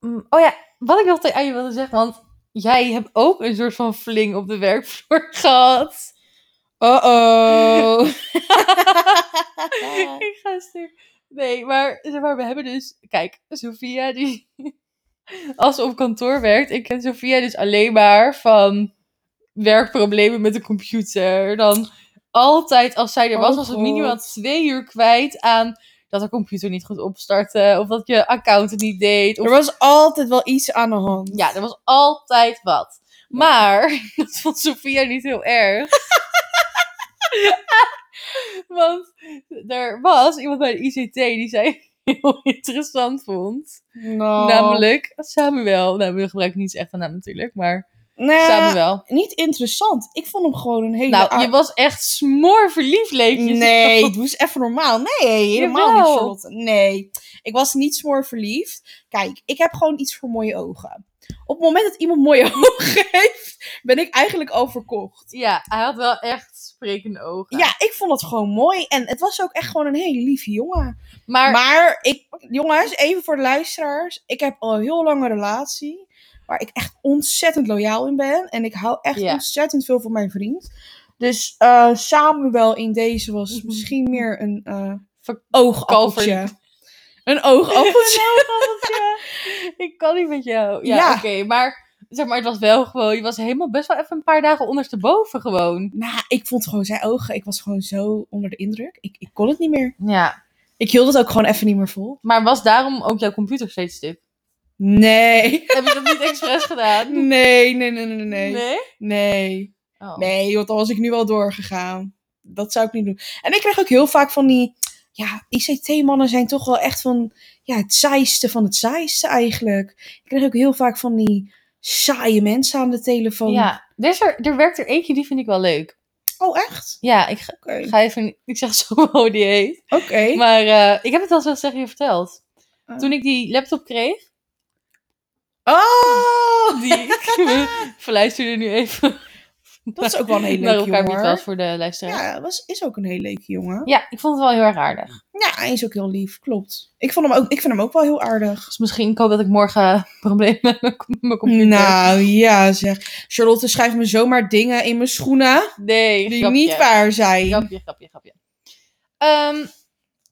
Speaker 1: mm, oh ja, wat ik nog te- aan je wilde zeggen, want jij hebt ook een soort van fling op de werkvloer gehad.
Speaker 2: Uh-oh.
Speaker 1: ik ga stuk. Nee, maar, zeg maar we hebben dus, kijk, Sofia die, als ze op kantoor werkt, ik ken Sofia dus alleen maar van werkproblemen met de computer. Dan altijd, als zij er
Speaker 2: Oh,
Speaker 1: was, was het minimaal
Speaker 2: God.
Speaker 1: twee uur kwijt aan dat de computer niet goed opstartte, of dat je account het niet deed, of
Speaker 2: er was altijd wel iets aan de hand.
Speaker 1: Ja, er was altijd wat. Maar dat vond Sofia niet heel erg. Want er was iemand bij de ICT die zij heel interessant vond.
Speaker 2: Nou.
Speaker 1: Namelijk Samuel. Nou, we gebruiken niet zijn echte naam natuurlijk, maar
Speaker 2: Nou,
Speaker 1: Samuel.
Speaker 2: niet interessant. Ik vond hem gewoon een hele...
Speaker 1: Nou,
Speaker 2: aard-
Speaker 1: je was echt smoorverliefd, leek je.
Speaker 2: Nee, doe eens even normaal. Nee, helemaal
Speaker 1: Jawel.
Speaker 2: niet, Charlotte. Nee, ik was niet smoorverliefd. Kijk, ik heb gewoon iets voor mooie ogen. Op het moment dat iemand mooie ogen heeft, ben ik eigenlijk al verkocht.
Speaker 1: Ja, hij had wel echt sprekende ogen.
Speaker 2: Ja, ik vond dat gewoon mooi. En het was ook echt gewoon een hele lieve jongen.
Speaker 1: maar,
Speaker 2: Maar, ik, jongens, even voor de luisteraars. Ik heb al een heel lange relatie. Waar ik echt ontzettend loyaal in ben. En ik hou echt
Speaker 1: Ja.
Speaker 2: ontzettend veel van mijn vriend. Dus eh Samuel in deze was
Speaker 1: Mhm.
Speaker 2: misschien meer een... eh,
Speaker 1: Ver-
Speaker 2: oogappeltje. Een oogappeltje.
Speaker 1: ik kan niet met jou. Ja,
Speaker 2: Ja.
Speaker 1: oké, maar zeg maar, het was wel gewoon. Je was helemaal best wel even een paar dagen ondersteboven gewoon.
Speaker 2: nou, ik vond gewoon zijn ogen. Ik was gewoon zo onder de indruk. Ik, ik kon het niet meer.
Speaker 1: Ja.
Speaker 2: Ik hield het ook gewoon even niet meer vol.
Speaker 1: Maar was daarom ook jouw computer steeds stuk?
Speaker 2: Nee.
Speaker 1: Hebben ze dat niet expres gedaan?
Speaker 2: Nee, nee, nee, nee, nee. Nee.
Speaker 1: Nee?
Speaker 2: Nee,
Speaker 1: Oh.
Speaker 2: nee want dan was ik nu wel doorgegaan. Dat zou ik niet doen. En ik krijg ook heel vaak van die... Ja, ICT-mannen zijn toch wel echt van... Ja, het saaiste van het saaiste eigenlijk. Ik krijg ook heel vaak van die saaie mensen aan de telefoon.
Speaker 1: Ja, er, is er, er werkt er eentje, die vind ik wel leuk.
Speaker 2: Oh, echt?
Speaker 1: Ja, ik ga,
Speaker 2: Oké.
Speaker 1: ik ga even... niet- Ik zeg zo wel hoe die heet.
Speaker 2: Oké.
Speaker 1: Maar eh, ik heb het al zo tegen je verteld.
Speaker 2: Oh.
Speaker 1: Toen ik die laptop kreeg,
Speaker 2: Oh!
Speaker 1: die... Verluister je nu even.
Speaker 2: Dat is ook wel een hele
Speaker 1: Naar
Speaker 2: leuke
Speaker 1: elkaar
Speaker 2: jongen.
Speaker 1: Niet was
Speaker 2: hoor.
Speaker 1: voor de luisteraar. Ja.
Speaker 2: Ja, dat was, is ook een hele leuke jongen.
Speaker 1: ik vond het wel heel erg aardig.
Speaker 2: Ja, hij is ook heel lief. Klopt. Ik, vond hem ook, ik vind hem ook wel heel aardig.
Speaker 1: Dus misschien ik hoop dat ik morgen problemen heb met mijn- mijn computer.
Speaker 2: Nou ja, zeg. Charlotte schrijft me zomaar dingen in mijn schoenen
Speaker 1: nee,
Speaker 2: die
Speaker 1: grapje.
Speaker 2: niet waar zijn.
Speaker 1: Grapje, grapje, grapje. Ehm,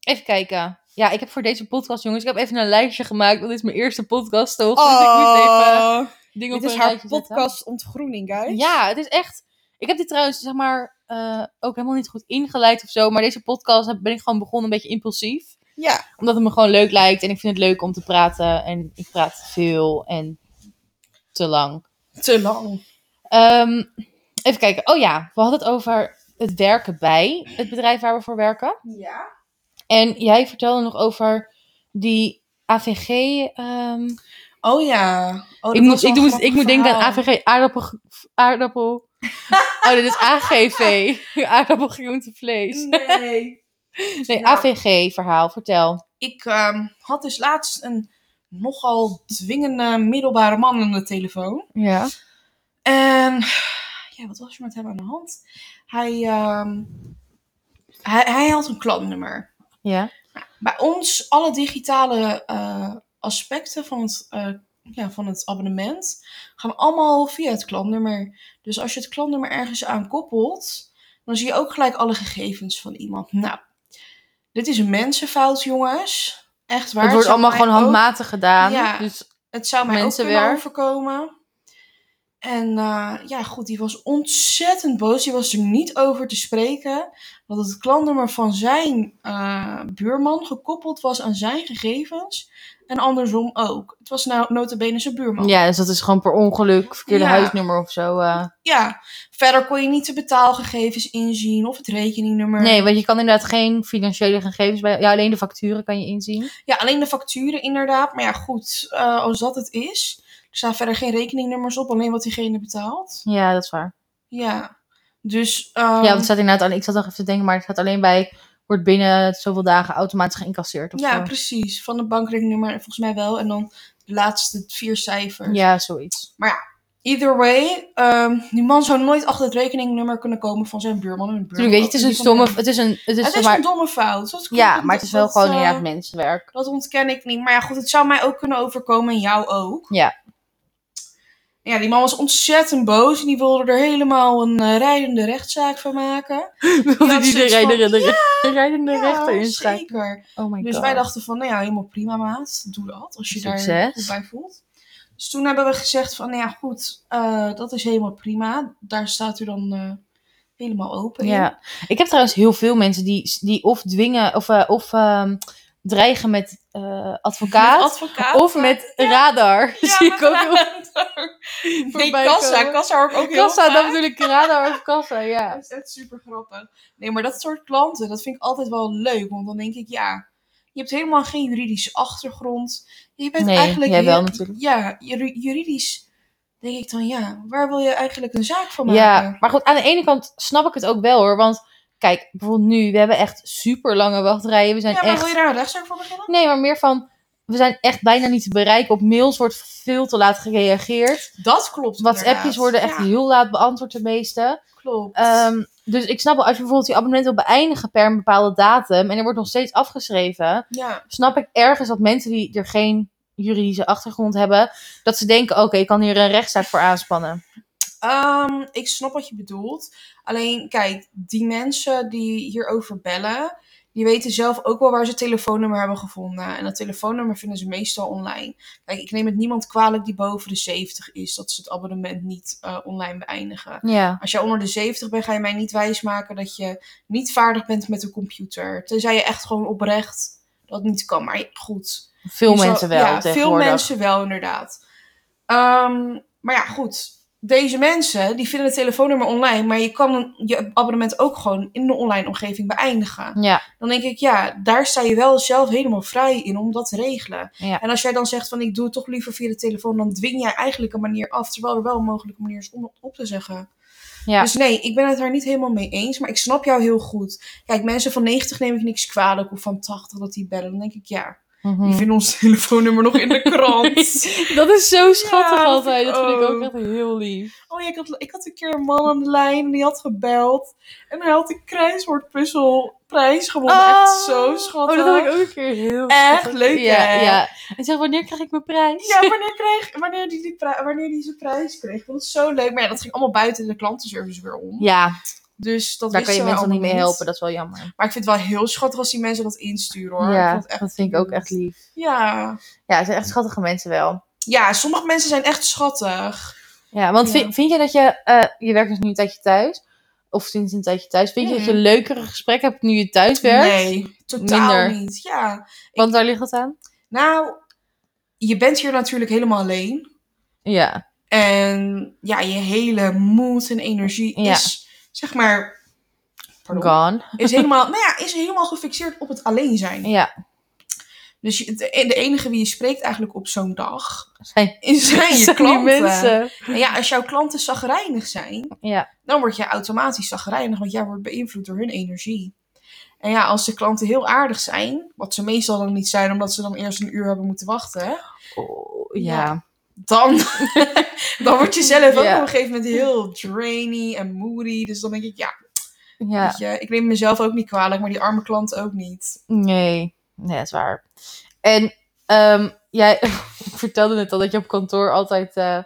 Speaker 1: even kijken. Ja, ik heb voor deze podcast, jongens, ik heb even een lijstje gemaakt. Dat is mijn eerste podcast, toch? Dus ik moet even
Speaker 2: Oh,
Speaker 1: dingen op
Speaker 2: dit is
Speaker 1: een
Speaker 2: haar
Speaker 1: rijtje zetten.
Speaker 2: podcast ontgroening, guys.
Speaker 1: Ja, het is echt... Ik heb dit trouwens, zeg maar, eh, ook helemaal niet goed ingeleid of zo. Maar deze podcast heb- ben ik gewoon begonnen een beetje impulsief.
Speaker 2: Ja.
Speaker 1: Omdat het me gewoon leuk lijkt. En ik vind het leuk om te praten. En ik praat veel en te lang.
Speaker 2: Te lang.
Speaker 1: Ehm, even kijken. Oh ja, we hadden het over het werken bij het bedrijf waar we voor werken.
Speaker 2: Ja.
Speaker 1: En jij vertelde nog over die AVG. ehm,
Speaker 2: Oh ja. Oh, dat
Speaker 1: ik,
Speaker 2: was
Speaker 1: moet,
Speaker 2: wel
Speaker 1: ik,
Speaker 2: een
Speaker 1: moet,
Speaker 2: grappig
Speaker 1: ik moet denken aan
Speaker 2: verhaal.
Speaker 1: AVG aardappel. ge- aardappel. oh, dit is AGV. aardappel, groente,
Speaker 2: Mm,
Speaker 1: vlees.
Speaker 2: Nee.
Speaker 1: Nee,
Speaker 2: Ja.
Speaker 1: AVG-verhaal. Vertel.
Speaker 2: Ik ehm, had dus laatst een nogal dwingende middelbare man aan de telefoon.
Speaker 1: Ja.
Speaker 2: En ja, wat was er met hem aan de hand? Hij, ehm, hij, hij had een klantnummer.
Speaker 1: Ja.
Speaker 2: Bij ons alle digitale eh, aspecten van het, eh, ja, van het abonnement gaan allemaal via het klantnummer. Dus als je het klantnummer ergens aan koppelt, dan zie je ook gelijk alle gegevens van iemand. Nou, dit is een mensenfout, jongens. Echt waar.
Speaker 1: het wordt
Speaker 2: zou
Speaker 1: allemaal
Speaker 2: mij
Speaker 1: gewoon
Speaker 2: ook-
Speaker 1: handmatig gedaan.
Speaker 2: Ja.
Speaker 1: Dus
Speaker 2: het zou mij ook kunnen
Speaker 1: Mensenwerk.
Speaker 2: overkomen. En eh, ja, goed, die was ontzettend boos. Die was er niet over te spreken. Dat het klantnummer van zijn eh, buurman gekoppeld was aan zijn gegevens. En andersom ook. Het was nou notabene zijn buurman.
Speaker 1: ja, dus dat is gewoon per ongeluk, verkeerde
Speaker 2: Ja.
Speaker 1: huisnummer of zo. eh.
Speaker 2: Ja, verder kon je niet de betaalgegevens inzien of het rekeningnummer.
Speaker 1: Nee, want je kan inderdaad geen financiële gegevens bij. Ja, alleen de facturen kan je inzien.
Speaker 2: Ja, alleen de facturen inderdaad. Maar ja, goed, eh, als dat het is. Er staan verder geen rekeningnummers op, alleen wat diegene betaalt.
Speaker 1: Ja, dat is waar.
Speaker 2: Ja, dus...
Speaker 1: Ja,
Speaker 2: ehm,
Speaker 1: want het staat inderdaad alleen. Ik zat nog even te denken, maar het staat alleen bij. Wordt binnen zoveel dagen automatisch geïncasseerd. Of eh,
Speaker 2: Ja,
Speaker 1: zo.
Speaker 2: precies. Van de bankrekeningnummer volgens mij wel. En dan de laatste vier cijfers.
Speaker 1: Ja, zoiets.
Speaker 2: Either way, ehm, die man zou nooit achter het rekeningnummer kunnen komen van zijn buurman. En de buurman
Speaker 1: Natuurlijk, weet je,
Speaker 2: ook
Speaker 1: het is
Speaker 2: niet
Speaker 1: een stomme.
Speaker 2: van hem.
Speaker 1: Het is een. Het is,
Speaker 2: Het
Speaker 1: zeg
Speaker 2: is
Speaker 1: maar,
Speaker 2: een domme fout. Dat klopt.
Speaker 1: ja, maar het is wel
Speaker 2: Dat,
Speaker 1: gewoon
Speaker 2: eh,
Speaker 1: inderdaad mensenwerk.
Speaker 2: Dat ontken ik niet. Maar ja, goed, het zou mij ook kunnen overkomen en jou ook.
Speaker 1: Ja.
Speaker 2: Ja, die man was ontzettend boos en die wilde er helemaal een eh, rijdende rechtszaak van maken.
Speaker 1: Wil
Speaker 2: dat
Speaker 1: die
Speaker 2: is
Speaker 1: de
Speaker 2: iets
Speaker 1: rijdende,
Speaker 2: van-
Speaker 1: de rijdende
Speaker 2: Ja,
Speaker 1: rechter inschrijven?
Speaker 2: zeker.
Speaker 1: Oh my god.
Speaker 2: Dus wij dachten van, nou ja, helemaal prima maat, doe dat, als je daar
Speaker 1: Succes.
Speaker 2: goed bij voelt. Dus toen hebben we gezegd van, nou ja, goed, eh, dat is helemaal prima. Daar staat u dan eh, helemaal open in.
Speaker 1: Ja. Ik heb trouwens heel veel mensen die, die of dwingen of, eh, of ehm, dreigen met eh, advocaat.
Speaker 2: Met advocaat.
Speaker 1: Of met radar.
Speaker 2: Ja,
Speaker 1: Oh, Zie
Speaker 2: met
Speaker 1: ik ook heel
Speaker 2: radar. Nee,
Speaker 1: voorbij
Speaker 2: kassa.
Speaker 1: komen.
Speaker 2: Kassa hoor ik ook heel
Speaker 1: Kassa,
Speaker 2: vaak.
Speaker 1: dat bedoel ik. Radar of kassa, ja.
Speaker 2: Dat is echt super grappig. Nee, maar dat soort klanten, dat vind ik altijd wel leuk. Want dan denk ik, ja, je hebt helemaal geen juridische achtergrond. Je bent
Speaker 1: Nee,
Speaker 2: eigenlijk...
Speaker 1: jij wel
Speaker 2: ju-
Speaker 1: natuurlijk.
Speaker 2: Ja, ju- juridisch denk ik dan, ja, waar wil je eigenlijk een zaak van maken?
Speaker 1: Ja, maar goed, aan de ene kant snap ik het ook wel hoor. Want kijk, bijvoorbeeld nu, we hebben echt super lange wachtrijen. We zijn
Speaker 2: ja, maar wil
Speaker 1: echt.
Speaker 2: je daar een rechtszaak voor beginnen?
Speaker 1: Nee, maar meer van. We zijn echt bijna niet te bereiken. Op mails wordt veel te laat gereageerd.
Speaker 2: Dat klopt.
Speaker 1: WhatsAppjes
Speaker 2: inderdaad.
Speaker 1: worden echt
Speaker 2: Ja,
Speaker 1: heel laat beantwoord, de meeste.
Speaker 2: klopt.
Speaker 1: Ehm, dus ik snap wel, als je bijvoorbeeld je abonnement wil beëindigen per een bepaalde datum. en er wordt nog steeds afgeschreven.
Speaker 2: ja.
Speaker 1: snap ik ergens dat mensen die er geen juridische achtergrond hebben, dat ze denken: oké, ik kan hier een rechtszaak voor aanspannen.
Speaker 2: Ehm, ik snap wat je bedoelt. Alleen, kijk, die mensen die hierover bellen, die weten zelf ook wel waar ze het telefoonnummer hebben gevonden. En dat telefoonnummer vinden ze meestal online. Kijk, ik neem het niemand kwalijk die boven de 70 is, dat ze het abonnement niet eh, online beëindigen.
Speaker 1: Ja.
Speaker 2: Als jij onder de 70 bent, ga je mij niet wijsmaken dat je niet vaardig bent met een computer. Tenzij je echt gewoon oprecht dat niet kan. Maar goed,
Speaker 1: Veel
Speaker 2: Je zal-
Speaker 1: mensen wel
Speaker 2: Ja, veel
Speaker 1: tegenwoordig.
Speaker 2: mensen wel, inderdaad. Ehm, maar ja, goed. Deze mensen, die vinden het telefoonnummer online, maar je kan een- je abonnement ook gewoon in de online omgeving beëindigen.
Speaker 1: Ja,
Speaker 2: Dan denk ik, ja, daar sta je wel zelf helemaal vrij in om dat te regelen.
Speaker 1: Ja.
Speaker 2: En als jij dan zegt van, ik doe het toch liever via de telefoon, dan dwing jij eigenlijk een manier af, terwijl er wel een mogelijke manier is om op te zeggen.
Speaker 1: ja.
Speaker 2: Dus nee, ik ben het daar niet helemaal mee eens, maar ik snap jou heel goed. Kijk, mensen van 90 neem ik niks kwalijk, of van 80 dat die bellen. Dan denk ik, ja,
Speaker 1: Mhm.
Speaker 2: die vinden ons telefoonnummer nog in de krant.
Speaker 1: Dat is zo schattig
Speaker 2: Ja, dat
Speaker 1: altijd.
Speaker 2: vind
Speaker 1: Dat
Speaker 2: ik
Speaker 1: vind ik ook
Speaker 2: ook.
Speaker 1: echt heel lief.
Speaker 2: Oh ja, ik had, ik had een keer een man aan de lijn en die had gebeld. En hij had een kruiswoordpuzzelprijs gewonnen. Echt zo schattig.
Speaker 1: Oh, dat had ik ook een keer heel
Speaker 2: Echt
Speaker 1: schattig.
Speaker 2: leuk,
Speaker 1: ja,
Speaker 2: hè?
Speaker 1: ja. En zeg, wanneer krijg ik mijn prijs?
Speaker 2: Ja, wanneer, kreeg, wanneer, die, die pri- wanneer die zijn prijs kreeg. Ik vond het zo leuk. Maar ja, dat ging allemaal buiten de klantenservice weer om.
Speaker 1: Ja,
Speaker 2: Dus dat
Speaker 1: daar kan
Speaker 2: wisten
Speaker 1: je mensen
Speaker 2: wij
Speaker 1: dan niet mee
Speaker 2: allemaal
Speaker 1: helpen. Dat is wel jammer.
Speaker 2: Maar ik vind het wel heel schattig als die mensen dat insturen hoor. Ik
Speaker 1: ja,
Speaker 2: vond het echt
Speaker 1: dat vind ik ook echt lief.
Speaker 2: Ja.
Speaker 1: Ja, het zijn echt schattige mensen wel.
Speaker 2: ja, sommige mensen zijn echt schattig.
Speaker 1: Ja, want
Speaker 2: Ja.
Speaker 1: Vind, vind je dat je... eh, je werkt dus nu een tijdje thuis. Of sinds een tijdje thuis. Vind je dat je
Speaker 2: Mhm.
Speaker 1: leukere gesprekken hebt nu je thuis werkt?
Speaker 2: Nee, totaal
Speaker 1: Minder.
Speaker 2: niet. Ja.
Speaker 1: Want daar ligt het aan?
Speaker 2: Nou, je bent hier natuurlijk helemaal alleen.
Speaker 1: Ja.
Speaker 2: En ja, je hele moed en energie
Speaker 1: Ja.
Speaker 2: is, zeg maar, pardon,
Speaker 1: Gone.
Speaker 2: is, helemaal, nou ja, is helemaal gefixeerd op het alleen zijn.
Speaker 1: Ja.
Speaker 2: Dus je- de, de enige wie je spreekt eigenlijk op zo'n dag,
Speaker 1: Zijn,
Speaker 2: is zijn je
Speaker 1: zijn die
Speaker 2: klanten.
Speaker 1: mensen.
Speaker 2: En ja, als jouw klanten zagrijnig zijn,
Speaker 1: Ja.
Speaker 2: dan word je automatisch zagrijnig, want jij wordt beïnvloed door hun energie. En ja, als de klanten heel aardig zijn, wat ze meestal dan niet zijn, omdat ze dan eerst een uur hebben moeten wachten,
Speaker 1: Oh,
Speaker 2: Ja.
Speaker 1: ja.
Speaker 2: dan, dan word je zelf ook
Speaker 1: Ja.
Speaker 2: op een gegeven moment heel drainy en moody. Dus dan denk ik, ja,
Speaker 1: Ja.
Speaker 2: weet je, ik neem mezelf ook niet kwalijk, maar die arme klant ook niet.
Speaker 1: Nee, nee, dat is waar. En ehm, jij ik vertelde net al dat je op kantoor altijd eh,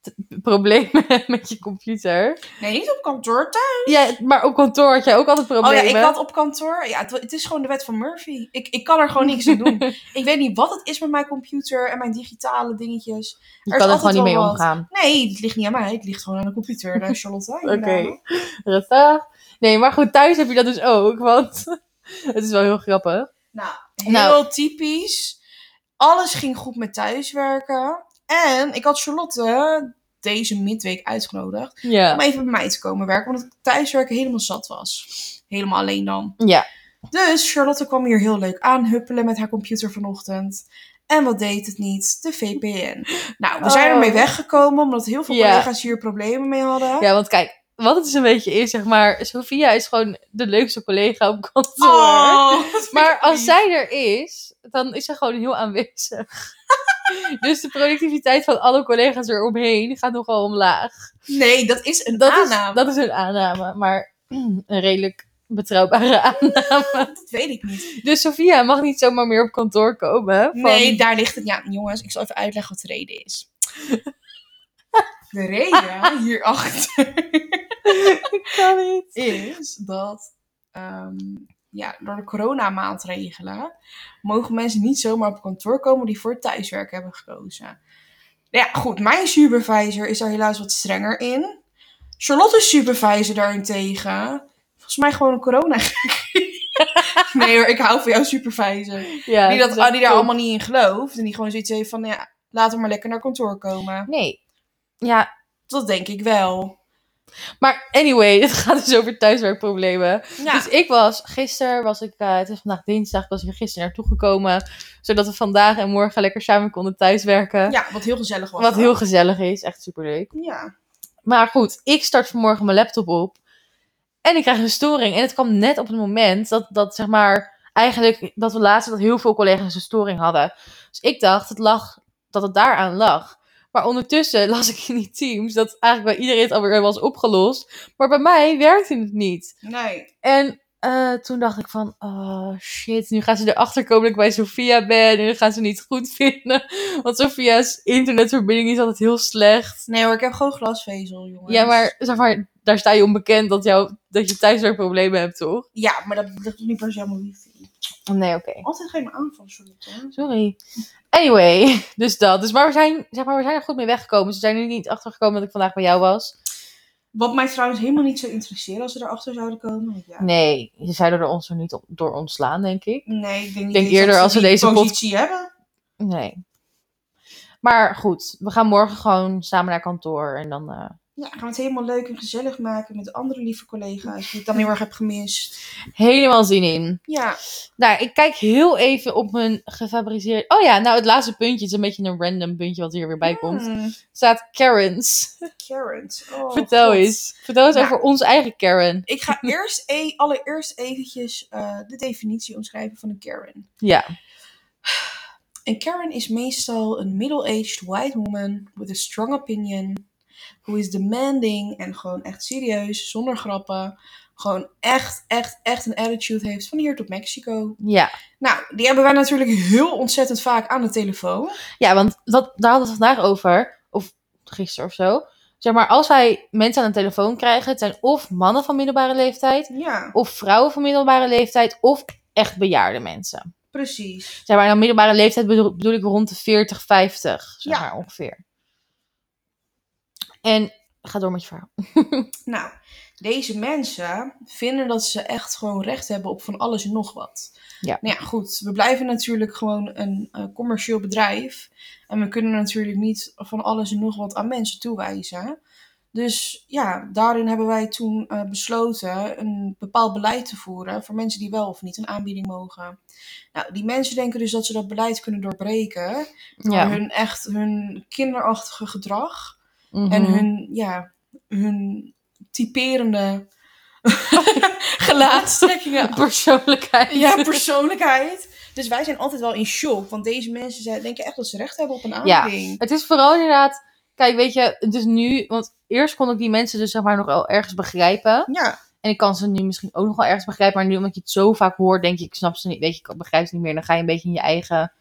Speaker 1: t- problemen hebt met je computer.
Speaker 2: Nee, niet op kantoor. Thuis.
Speaker 1: Ja, maar op kantoor had jij ook altijd
Speaker 2: Oh ja,
Speaker 1: problemen.
Speaker 2: ik had op kantoor. Ja, het, het is gewoon de wet van Murphy. Ik, ik kan er gewoon niks aan doen. Ik weet niet wat het is met mijn computer en mijn digitale dingetjes.
Speaker 1: je
Speaker 2: er
Speaker 1: kan
Speaker 2: is
Speaker 1: er gewoon
Speaker 2: altijd
Speaker 1: niet
Speaker 2: wel
Speaker 1: mee
Speaker 2: wat.
Speaker 1: omgaan.
Speaker 2: Nee, het ligt niet aan mij. Het ligt gewoon aan de computer. Daar is Charlotte.
Speaker 1: Oké. Rustig. Nee, maar goed, thuis heb je dat dus ook, want het is wel heel grappig.
Speaker 2: Nou, heel
Speaker 1: Nou.
Speaker 2: typisch. Alles ging goed met thuiswerken. En ik had Charlotte deze midweek uitgenodigd
Speaker 1: Ja.
Speaker 2: om even bij mij te komen werken, omdat ik thuiswerken helemaal zat was. Helemaal alleen dan.
Speaker 1: Ja.
Speaker 2: Dus Charlotte kwam hier heel leuk aan huppelen met haar computer vanochtend. En wat deed het niet? De VPN. Nou, we zijn
Speaker 1: Oh.
Speaker 2: ermee weggekomen, omdat heel veel
Speaker 1: Ja.
Speaker 2: collega's hier problemen mee hadden.
Speaker 1: ja, want kijk, wat het dus een beetje is, zeg maar, Sophia is gewoon de leukste collega op kantoor.
Speaker 2: Oh, dat vind ik
Speaker 1: Maar als
Speaker 2: lief.
Speaker 1: zij er is, dan is zij gewoon heel aanwezig. dus de productiviteit van alle collega's eromheen gaat nogal omlaag.
Speaker 2: Nee, dat is een
Speaker 1: Dat,
Speaker 2: aanname.
Speaker 1: Is, dat is een aanname, maar een redelijk betrouwbare aanname.
Speaker 2: dat weet ik niet.
Speaker 1: Dus Sofia mag niet zomaar meer op kantoor komen. Van,
Speaker 2: Nee, daar ligt het. Ja, jongens, ik zal even uitleggen wat de reden is. De reden hierachter
Speaker 1: ik kan niet.
Speaker 2: is dat ehm, ja, door de coronamaatregelen mogen mensen niet zomaar op kantoor komen die voor thuiswerk hebben gekozen. Nou Ja, goed, mijn supervisor is daar helaas wat strenger in. Charlotte's supervisor daarentegen, volgens mij gewoon een corona. nee hoor, ik hou van jouw supervisor.
Speaker 1: Ja, dus
Speaker 2: Die,
Speaker 1: het
Speaker 2: dat,
Speaker 1: is echt
Speaker 2: die daar
Speaker 1: top.
Speaker 2: allemaal niet in gelooft. En die gewoon zoiets heeft van, ja, laat hem maar lekker naar kantoor komen.
Speaker 1: Nee. Ja,
Speaker 2: Dat denk ik wel.
Speaker 1: maar anyway, het gaat dus over thuiswerkproblemen.
Speaker 2: Ja,
Speaker 1: Dus ik was gisteren, was ik, eh, het is vandaag dinsdag, ik was hier gisteren naartoe gekomen. Zodat we vandaag en morgen lekker samen konden thuiswerken.
Speaker 2: ja wat heel gezellig was.
Speaker 1: Wat
Speaker 2: dat.
Speaker 1: heel gezellig is, echt superleuk.
Speaker 2: Ja.
Speaker 1: Maar goed, ik start vanmorgen mijn laptop op. En ik krijg een storing. En het kwam net op het moment dat, dat zeg maar, eigenlijk, dat we laatst dat heel veel collega's een storing hadden. Dus ik dacht, het lag, dat het daaraan lag. Maar ondertussen las ik in die teams dat eigenlijk bij iedereen het alweer was opgelost. Maar bij mij werkte het niet.
Speaker 2: Nee.
Speaker 1: En eh, toen dacht ik van, oh shit, nu gaan ze erachter komen dat ik bij Sofia ben. En dan gaan ze niet goed vinden. Want Sofia's internetverbinding is altijd heel slecht.
Speaker 2: Nee hoor, ik heb gewoon glasvezel, jongens.
Speaker 1: Ja, maar, zeg maar daar sta je onbekend dat, jou, dat je thuiswerkproblemen hebt, toch?
Speaker 2: Ja, maar dat ligt niet per se aan mijn wifi.
Speaker 1: Nee, oké.
Speaker 2: Altijd geen aanval, Charlotte.
Speaker 1: Sorry. Anyway, dus dat. Dus, maar, we zijn, zeg maar we zijn er goed mee weggekomen. Ze zijn er niet achter gekomen dat ik vandaag bij jou was.
Speaker 2: Wat mij trouwens helemaal niet zou interesseren als ze erachter zouden komen. want Ja.
Speaker 1: Nee, ze zouden er ons er niet op- door ontslaan, denk ik.
Speaker 2: Nee, ik denk, niet
Speaker 1: denk
Speaker 2: eens
Speaker 1: eerder
Speaker 2: dat
Speaker 1: als
Speaker 2: ze
Speaker 1: we
Speaker 2: die
Speaker 1: deze pod-
Speaker 2: positie hebben.
Speaker 1: Nee. Maar goed, we gaan morgen gewoon samen naar kantoor en dan... eh,
Speaker 2: Ja, gaan we het helemaal leuk en gezellig maken met andere lieve collega's die ik dan heel erg heb gemist.
Speaker 1: helemaal zin in.
Speaker 2: Ja,
Speaker 1: Nou, ik kijk heel even op mijn gefabriceerd... Oh ja, nou het laatste puntje is een beetje een random puntje wat hier weer bij komt.
Speaker 2: Mm,
Speaker 1: Staat Karens.
Speaker 2: Karens. Oh,
Speaker 1: Vertel
Speaker 2: God.
Speaker 1: eens. Vertel eens
Speaker 2: Nou.
Speaker 1: over ons eigen Karen.
Speaker 2: Ik ga eerst e allereerst eventjes eh, de definitie omschrijven van een Karen.
Speaker 1: Ja.
Speaker 2: Een Karen is meestal een middle-aged white woman with a strong opinion, who is demanding en gewoon echt serieus, zonder grappen. Gewoon echt, echt, echt een attitude heeft van hier tot Mexico.
Speaker 1: Ja.
Speaker 2: Nou, die hebben wij natuurlijk heel ontzettend vaak aan de telefoon.
Speaker 1: Ja, want dat, daar hadden we het vandaag over. Of gisteren of zo. Zeg maar, als wij mensen aan de telefoon krijgen, het zijn of mannen van middelbare leeftijd,
Speaker 2: Ja,
Speaker 1: of vrouwen van middelbare leeftijd, of echt bejaarde mensen.
Speaker 2: precies.
Speaker 1: Zeg maar, nou middelbare leeftijd bedoel, bedoel ik rond de 40, 50, zeg
Speaker 2: Ja.
Speaker 1: maar ongeveer. En ga door met je verhaal.
Speaker 2: Nou, deze mensen vinden dat ze echt gewoon recht hebben op van alles en nog wat.
Speaker 1: Ja.
Speaker 2: Nou ja, goed. We blijven natuurlijk gewoon een eh, commercieel bedrijf. En we kunnen natuurlijk niet van alles en nog wat aan mensen toewijzen. Dus ja, daarin hebben wij toen eh, besloten een bepaald beleid te voeren voor mensen die wel of niet een aanbieding mogen. Nou, die mensen denken dus dat ze dat beleid kunnen doorbreken. Door
Speaker 1: Ja.
Speaker 2: hun echt hun kinderachtige gedrag.
Speaker 1: Mhm.
Speaker 2: En hun, ja, hun typerende gelaatstrekkingen.
Speaker 1: persoonlijkheid.
Speaker 2: Ja, persoonlijkheid. Dus wij zijn altijd wel in shock. Want deze mensen zijn, denken echt dat ze recht hebben op een
Speaker 1: Ja.
Speaker 2: aanbieding.
Speaker 1: Het is vooral inderdaad. Kijk, weet je, het is nu. Want eerst kon ik die mensen dus zeg maar nog wel ergens begrijpen.
Speaker 2: Ja. ja.
Speaker 1: En ik kan ze nu misschien ook nog wel ergens begrijpen. Maar nu omdat je het zo vaak hoort, denk je, ik snap ze niet. Weet je, ik begrijp ze niet meer. Dan ga je een beetje in je eigen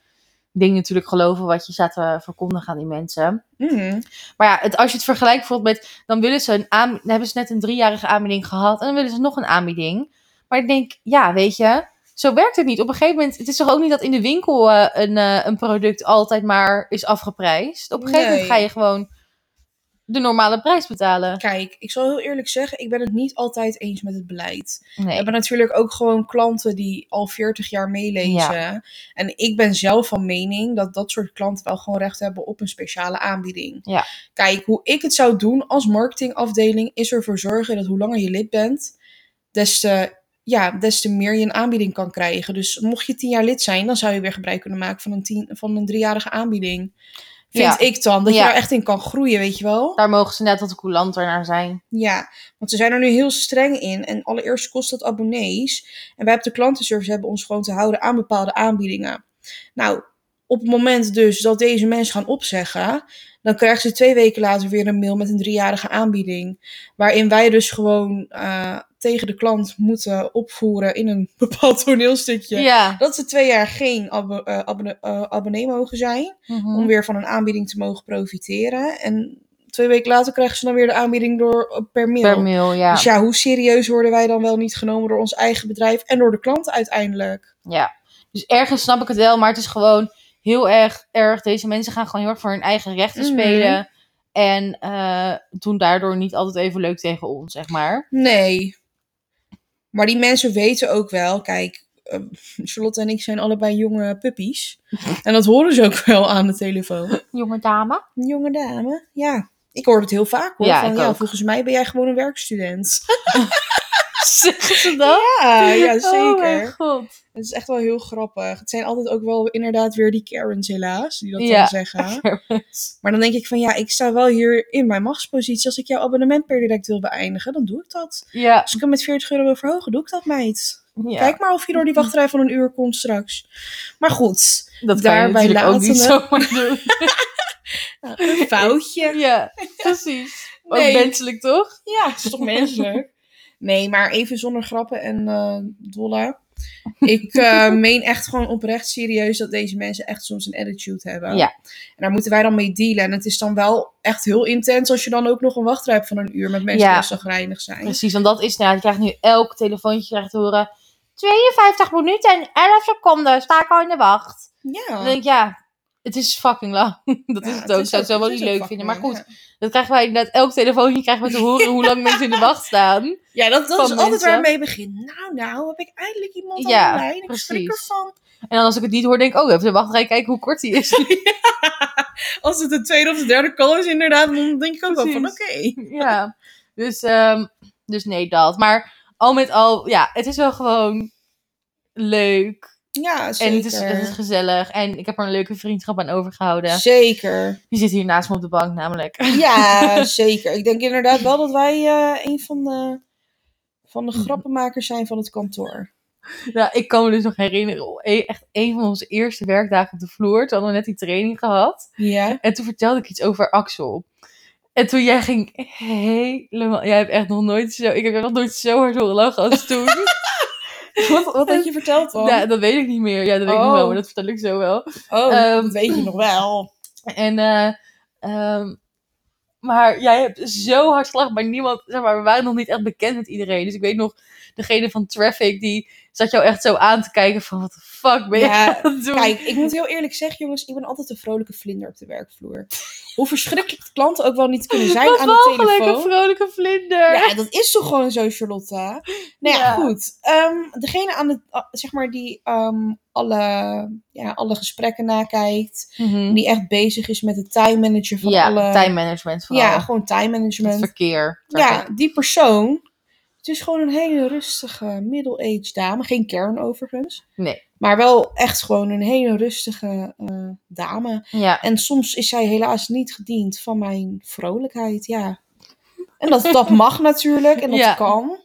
Speaker 1: ding natuurlijk geloven. Wat je staat te verkondigen aan die mensen.
Speaker 2: mhm.
Speaker 1: Maar ja, het, als je het vergelijkt bijvoorbeeld met... Dan willen ze een aan, dan hebben ze net een driejarige aanbieding gehad. En dan willen ze nog een aanbieding. Maar ik denk, ja, weet je... Zo werkt het niet. Op een gegeven moment, het is toch ook niet dat in de winkel eh, een, eh, een product altijd maar is afgeprijsd. Op een gegeven moment
Speaker 2: Nee.
Speaker 1: ga je gewoon de normale prijs betalen.
Speaker 2: Kijk, ik zal heel eerlijk zeggen, ik ben het niet altijd eens met het beleid. We
Speaker 1: Nee.
Speaker 2: hebben natuurlijk ook gewoon klanten die al 40 jaar meelezen. En ik ben zelf van mening dat dat soort klanten wel gewoon recht hebben op een speciale aanbieding.
Speaker 1: Ja.
Speaker 2: Kijk, hoe ik het zou doen als marketingafdeling is ervoor zorgen dat hoe langer je lid bent, des te, ja, des te meer je een aanbieding kan krijgen. Dus mocht je 10 jaar lid zijn, dan zou je weer gebruik kunnen maken van een, tien, van een driejarige aanbieding. Vind
Speaker 1: Ja.
Speaker 2: ik dan. Dat je
Speaker 1: Ja.
Speaker 2: daar echt in kan groeien, weet je wel?
Speaker 1: Daar mogen ze net wat coulanter naar zijn.
Speaker 2: Ja, want ze zijn er nu heel streng in. En allereerst kost dat abonnees. En wij op de klantenservice hebben ons gewoon te houden aan bepaalde aanbiedingen. Nou, op het moment dus dat deze mensen gaan opzeggen, dan krijgen ze twee weken later weer een mail met een driejarige aanbieding. Waarin wij dus gewoon eh, tegen de klant moeten opvoeren in een bepaald toneelstukje.
Speaker 1: Ja.
Speaker 2: Dat ze twee jaar geen abbe- eh, abonne- eh, abonnee mogen zijn
Speaker 1: Mhm.
Speaker 2: om weer van een aanbieding te mogen profiteren. En twee weken later krijgen ze dan weer de aanbieding door, eh, per mail.
Speaker 1: Per mail, ja.
Speaker 2: Dus ja, hoe serieus worden wij dan wel niet genomen door ons eigen bedrijf en door de klant uiteindelijk?
Speaker 1: ja. Dus ergens snap ik het wel, maar het is gewoon heel erg erg. Deze mensen gaan gewoon heel erg voor hun eigen rechten
Speaker 2: Mhm.
Speaker 1: spelen. En eh, doen daardoor niet altijd even leuk tegen ons, zeg maar.
Speaker 2: Nee. Maar die mensen weten ook wel, kijk, eh, Charlotte en ik zijn allebei jonge puppies. En dat horen ze ook wel aan de telefoon.
Speaker 1: Jonge dame.
Speaker 2: Een jonge dame, ja. Ik hoor het heel vaak hoor.
Speaker 1: Ja,
Speaker 2: van,
Speaker 1: ik
Speaker 2: ja
Speaker 1: ook.
Speaker 2: volgens mij ben jij gewoon een werkstudent.
Speaker 1: Zeggen ze dat?
Speaker 2: Ja, ja
Speaker 1: Oh mijn
Speaker 2: zeker.
Speaker 1: god.
Speaker 2: Het is echt wel heel grappig. Het zijn altijd ook wel inderdaad weer die Karens helaas, die dat
Speaker 1: Ja.
Speaker 2: dan zeggen. Maar dan denk ik van ja, ik sta wel hier in mijn machtspositie. Als ik jouw abonnement per direct wil beëindigen, dan doe ik dat.
Speaker 1: Ja.
Speaker 2: Als ik hem met 40 euro wil verhogen, doe ik dat meid.
Speaker 1: ja.
Speaker 2: Kijk maar of je door die wachtrij van een uur komt straks. Maar goed,
Speaker 1: dat kan je
Speaker 2: daarbij
Speaker 1: natuurlijk ook niet
Speaker 2: laten
Speaker 1: zomaar doen.
Speaker 2: een foutje.
Speaker 1: ja, precies. Ook
Speaker 2: Nee.
Speaker 1: menselijk, toch?
Speaker 2: Ja, het is toch menselijk? Nee, maar even zonder grappen en eh dolle. Ik eh, meen echt gewoon oprecht serieus dat deze mensen echt soms een attitude hebben.
Speaker 1: Ja.
Speaker 2: En daar moeten wij dan mee dealen. En het is dan wel echt heel intens als je dan ook nog een wachtrij hebt van een uur met mensen
Speaker 1: Ja.
Speaker 2: die zagrijnig zijn.
Speaker 1: Precies, want dat is nou, je krijgt nu elk telefoontje krijgt te horen. 52 minuten en 11 seconden sta ik al in de wacht.
Speaker 2: Ja.
Speaker 1: Dan denk ik, ja, het is fucking lang. Dat
Speaker 2: Oh.
Speaker 1: is het ook.
Speaker 2: Ja, het
Speaker 1: Ik
Speaker 2: is
Speaker 1: zou het zo wel
Speaker 2: het
Speaker 1: niet
Speaker 2: is ook
Speaker 1: leuk vinden. Maar
Speaker 2: vakman,
Speaker 1: goed, dat krijgen wij inderdaad. Elk telefoontje krijgen we te horen hoe lang mensen in de wacht staan.
Speaker 2: Ja, Ja, dat, dat
Speaker 1: van
Speaker 2: is altijd
Speaker 1: mensen.
Speaker 2: waarmee begin. Nou, nou, heb ik eindelijk iemand aan
Speaker 1: Ja,
Speaker 2: de lijn. Ik schrik
Speaker 1: precies.
Speaker 2: ervan.
Speaker 1: En dan als ik het niet hoor, denk ik, oh, even wacht, ga ik kijken hoe kort die is.
Speaker 2: Als het de tweede of de derde call is, inderdaad, dan denk ik ook wel van oké.
Speaker 1: ja. Dus, ehm, dus nee, dat. Maar al met al, ja, het is wel gewoon leuk.
Speaker 2: Ja, zeker.
Speaker 1: En het is, het is gezellig. En ik heb er een leuke vriendschap aan overgehouden.
Speaker 2: Zeker.
Speaker 1: Die zit hier naast me op de bank, namelijk.
Speaker 2: Ja, zeker. Ik denk inderdaad wel dat wij eh, een van de, van de
Speaker 1: Mm.
Speaker 2: grappenmakers zijn van het kantoor.
Speaker 1: Nou, ik kan me dus nog herinneren, oh, e- echt een van onze eerste werkdagen op de vloer. Toen hadden we net die training gehad.
Speaker 2: Ja.
Speaker 1: En toen vertelde ik iets over Axel. En toen jij ging helemaal... Jij hebt echt nog nooit zo... Ik heb nog nooit zo hard horen lachen als toen.
Speaker 2: Wat, wat had je verteld dan?
Speaker 1: Ja, dat weet ik niet meer. Ja, dat weet ik nog
Speaker 2: Oh.
Speaker 1: wel, maar dat vertel ik zo wel.
Speaker 2: oh,
Speaker 1: ehm,
Speaker 2: dat weet je nog wel.
Speaker 1: En, eh, ehm, maar jij hebt zo hard slag bij niemand. Zeg maar, we waren nog niet echt bekend met iedereen. Dus ik weet nog, degene van Traffic, die zat jou echt zo aan te kijken van... Wat de fuck ben je
Speaker 2: Ja,
Speaker 1: aan het doen?
Speaker 2: Kijk, ik moet heel eerlijk zeggen, jongens, ik ben altijd een vrolijke vlinder op de werkvloer. Hoe verschrikkelijk de klanten ook wel niet kunnen zijn aan de
Speaker 1: Wat gelijk een
Speaker 2: telefoon.
Speaker 1: vrolijke vlinder.
Speaker 2: Ja, dat is toch gewoon zo, Charlotte? Nou ja,
Speaker 1: Ja.
Speaker 2: goed. Ehm, degene aan de, ah, zeg maar, die ehm, alle, ja, alle gesprekken nakijkt.
Speaker 1: Mhm.
Speaker 2: Die echt bezig is met het time manager van
Speaker 1: Ja,
Speaker 2: alle...
Speaker 1: time management vooral.
Speaker 2: ja, gewoon time
Speaker 1: het
Speaker 2: management.
Speaker 1: verkeer.
Speaker 2: Ja, die persoon. Het is gewoon een hele rustige middle-aged dame. Geen kern overigens.
Speaker 1: Nee.
Speaker 2: Maar wel echt gewoon een hele rustige eh, dame.
Speaker 1: Ja.
Speaker 2: En soms is zij helaas niet gediend van mijn vrolijkheid. Ja. En dat, dat mag natuurlijk. En dat
Speaker 1: Ja.
Speaker 2: kan.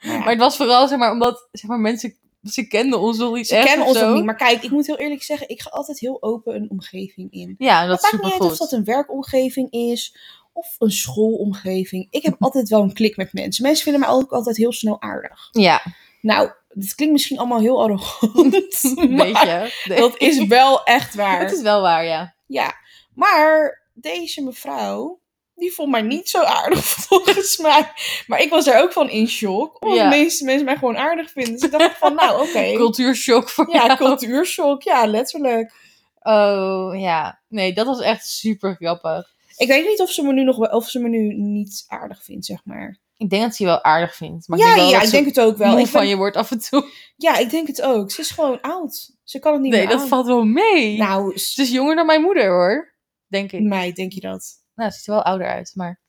Speaker 1: Maar het was vooral, zeg maar, omdat zeg maar, mensen... Ze kenden ons nog niet
Speaker 2: Ze
Speaker 1: echt
Speaker 2: kennen
Speaker 1: of
Speaker 2: ons nog
Speaker 1: zo.
Speaker 2: niet. Maar kijk, ik moet heel eerlijk zeggen, ik ga altijd heel open een omgeving in.
Speaker 1: Ja, dat
Speaker 2: Het
Speaker 1: is
Speaker 2: maakt niet uit of
Speaker 1: supergoed.
Speaker 2: dat een werkomgeving is of een schoolomgeving. Ik heb altijd wel een klik met mensen. Mensen vinden mij ook altijd heel snel aardig.
Speaker 1: Ja,
Speaker 2: Nou, dit klinkt misschien allemaal heel arrogant.
Speaker 1: een
Speaker 2: maar
Speaker 1: beetje. Nee.
Speaker 2: Dat is wel echt
Speaker 1: Het
Speaker 2: waar.
Speaker 1: is wel waar, ja.
Speaker 2: Ja, maar deze mevrouw, die vond mij niet zo aardig volgens mij. Maar ik was er ook van in shock. Omdat
Speaker 1: Ja.
Speaker 2: de meeste mensen mij gewoon aardig vinden. Dus ik dacht van, nou oké.
Speaker 1: Cultuurshock voor
Speaker 2: Ja,
Speaker 1: jou.
Speaker 2: cultuurshock. Ja, letterlijk.
Speaker 1: Oh, ja. Nee, dat was echt super grappig.
Speaker 2: Ik weet niet of ze me nu nog wel, of ze me nu niet aardig vindt, zeg maar.
Speaker 1: Ik denk dat ze je wel aardig vindt. Maar ik
Speaker 2: ja,
Speaker 1: denk wel
Speaker 2: ja,
Speaker 1: dat
Speaker 2: ik
Speaker 1: ze
Speaker 2: denk het ook wel.
Speaker 1: moe
Speaker 2: Ik
Speaker 1: van
Speaker 2: ben-
Speaker 1: je wordt af en toe.
Speaker 2: Ja, ik denk het ook. Ze is gewoon oud. Ze kan het niet
Speaker 1: Nee,
Speaker 2: meer
Speaker 1: dat
Speaker 2: aan.
Speaker 1: valt wel mee.
Speaker 2: Nou, Mm.
Speaker 1: Ze is jonger dan mijn moeder, hoor. Denk ik.
Speaker 2: mij denk je dat?
Speaker 1: Nou, ze ziet er wel ouder uit, maar...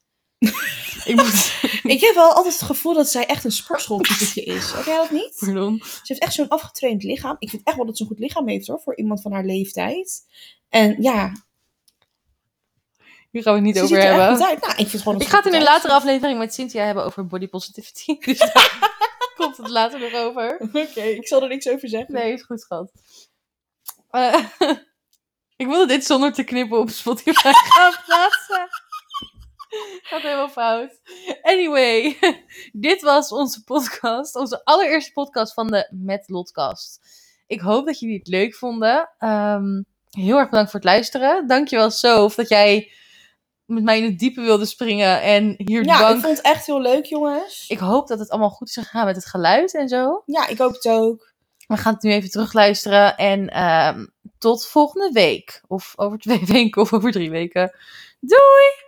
Speaker 1: ik moet...
Speaker 2: Ik heb wel altijd het gevoel dat zij echt een sportschooltypetje is. Heb jij dat niet?
Speaker 1: Pardon.
Speaker 2: Ze heeft echt zo'n afgetraind lichaam. Ik vind echt wel dat ze een goed lichaam heeft hoor, voor iemand van haar leeftijd. En ja,
Speaker 1: Hier gaan we het niet
Speaker 2: ze
Speaker 1: over
Speaker 2: ziet er echt
Speaker 1: hebben.
Speaker 2: goed uit. Nou, ik vind het gewoon dat
Speaker 1: Ik
Speaker 2: ze
Speaker 1: ga het in
Speaker 2: goed
Speaker 1: een
Speaker 2: uitziet.
Speaker 1: latere aflevering met Cynthia hebben over body positivity. Dus daar komt het later nog over.
Speaker 2: Oké, ik zal er niks over zeggen.
Speaker 1: Nee, is goed, schat. Eh, ik wilde dit zonder te knippen op Spotify gaan plaatsen. Gaat helemaal fout. Anyway, dit was onze podcast. Onze allereerste podcast van de Met Lotcast. Ik hoop dat jullie het leuk vonden. Ehm, heel erg bedankt voor het luisteren. Dankjewel, Sof, dat jij met mij in het diepe wilde springen en hier de
Speaker 2: Ja,
Speaker 1: bank...
Speaker 2: ik vond het echt heel leuk jongens.
Speaker 1: Ik hoop dat het allemaal goed is gegaan met het geluid en zo.
Speaker 2: Ja, ik hoop het ook.
Speaker 1: We gaan het nu even terugluisteren. En ehm, tot volgende week. Of over twee weken of over drie weken. Doei!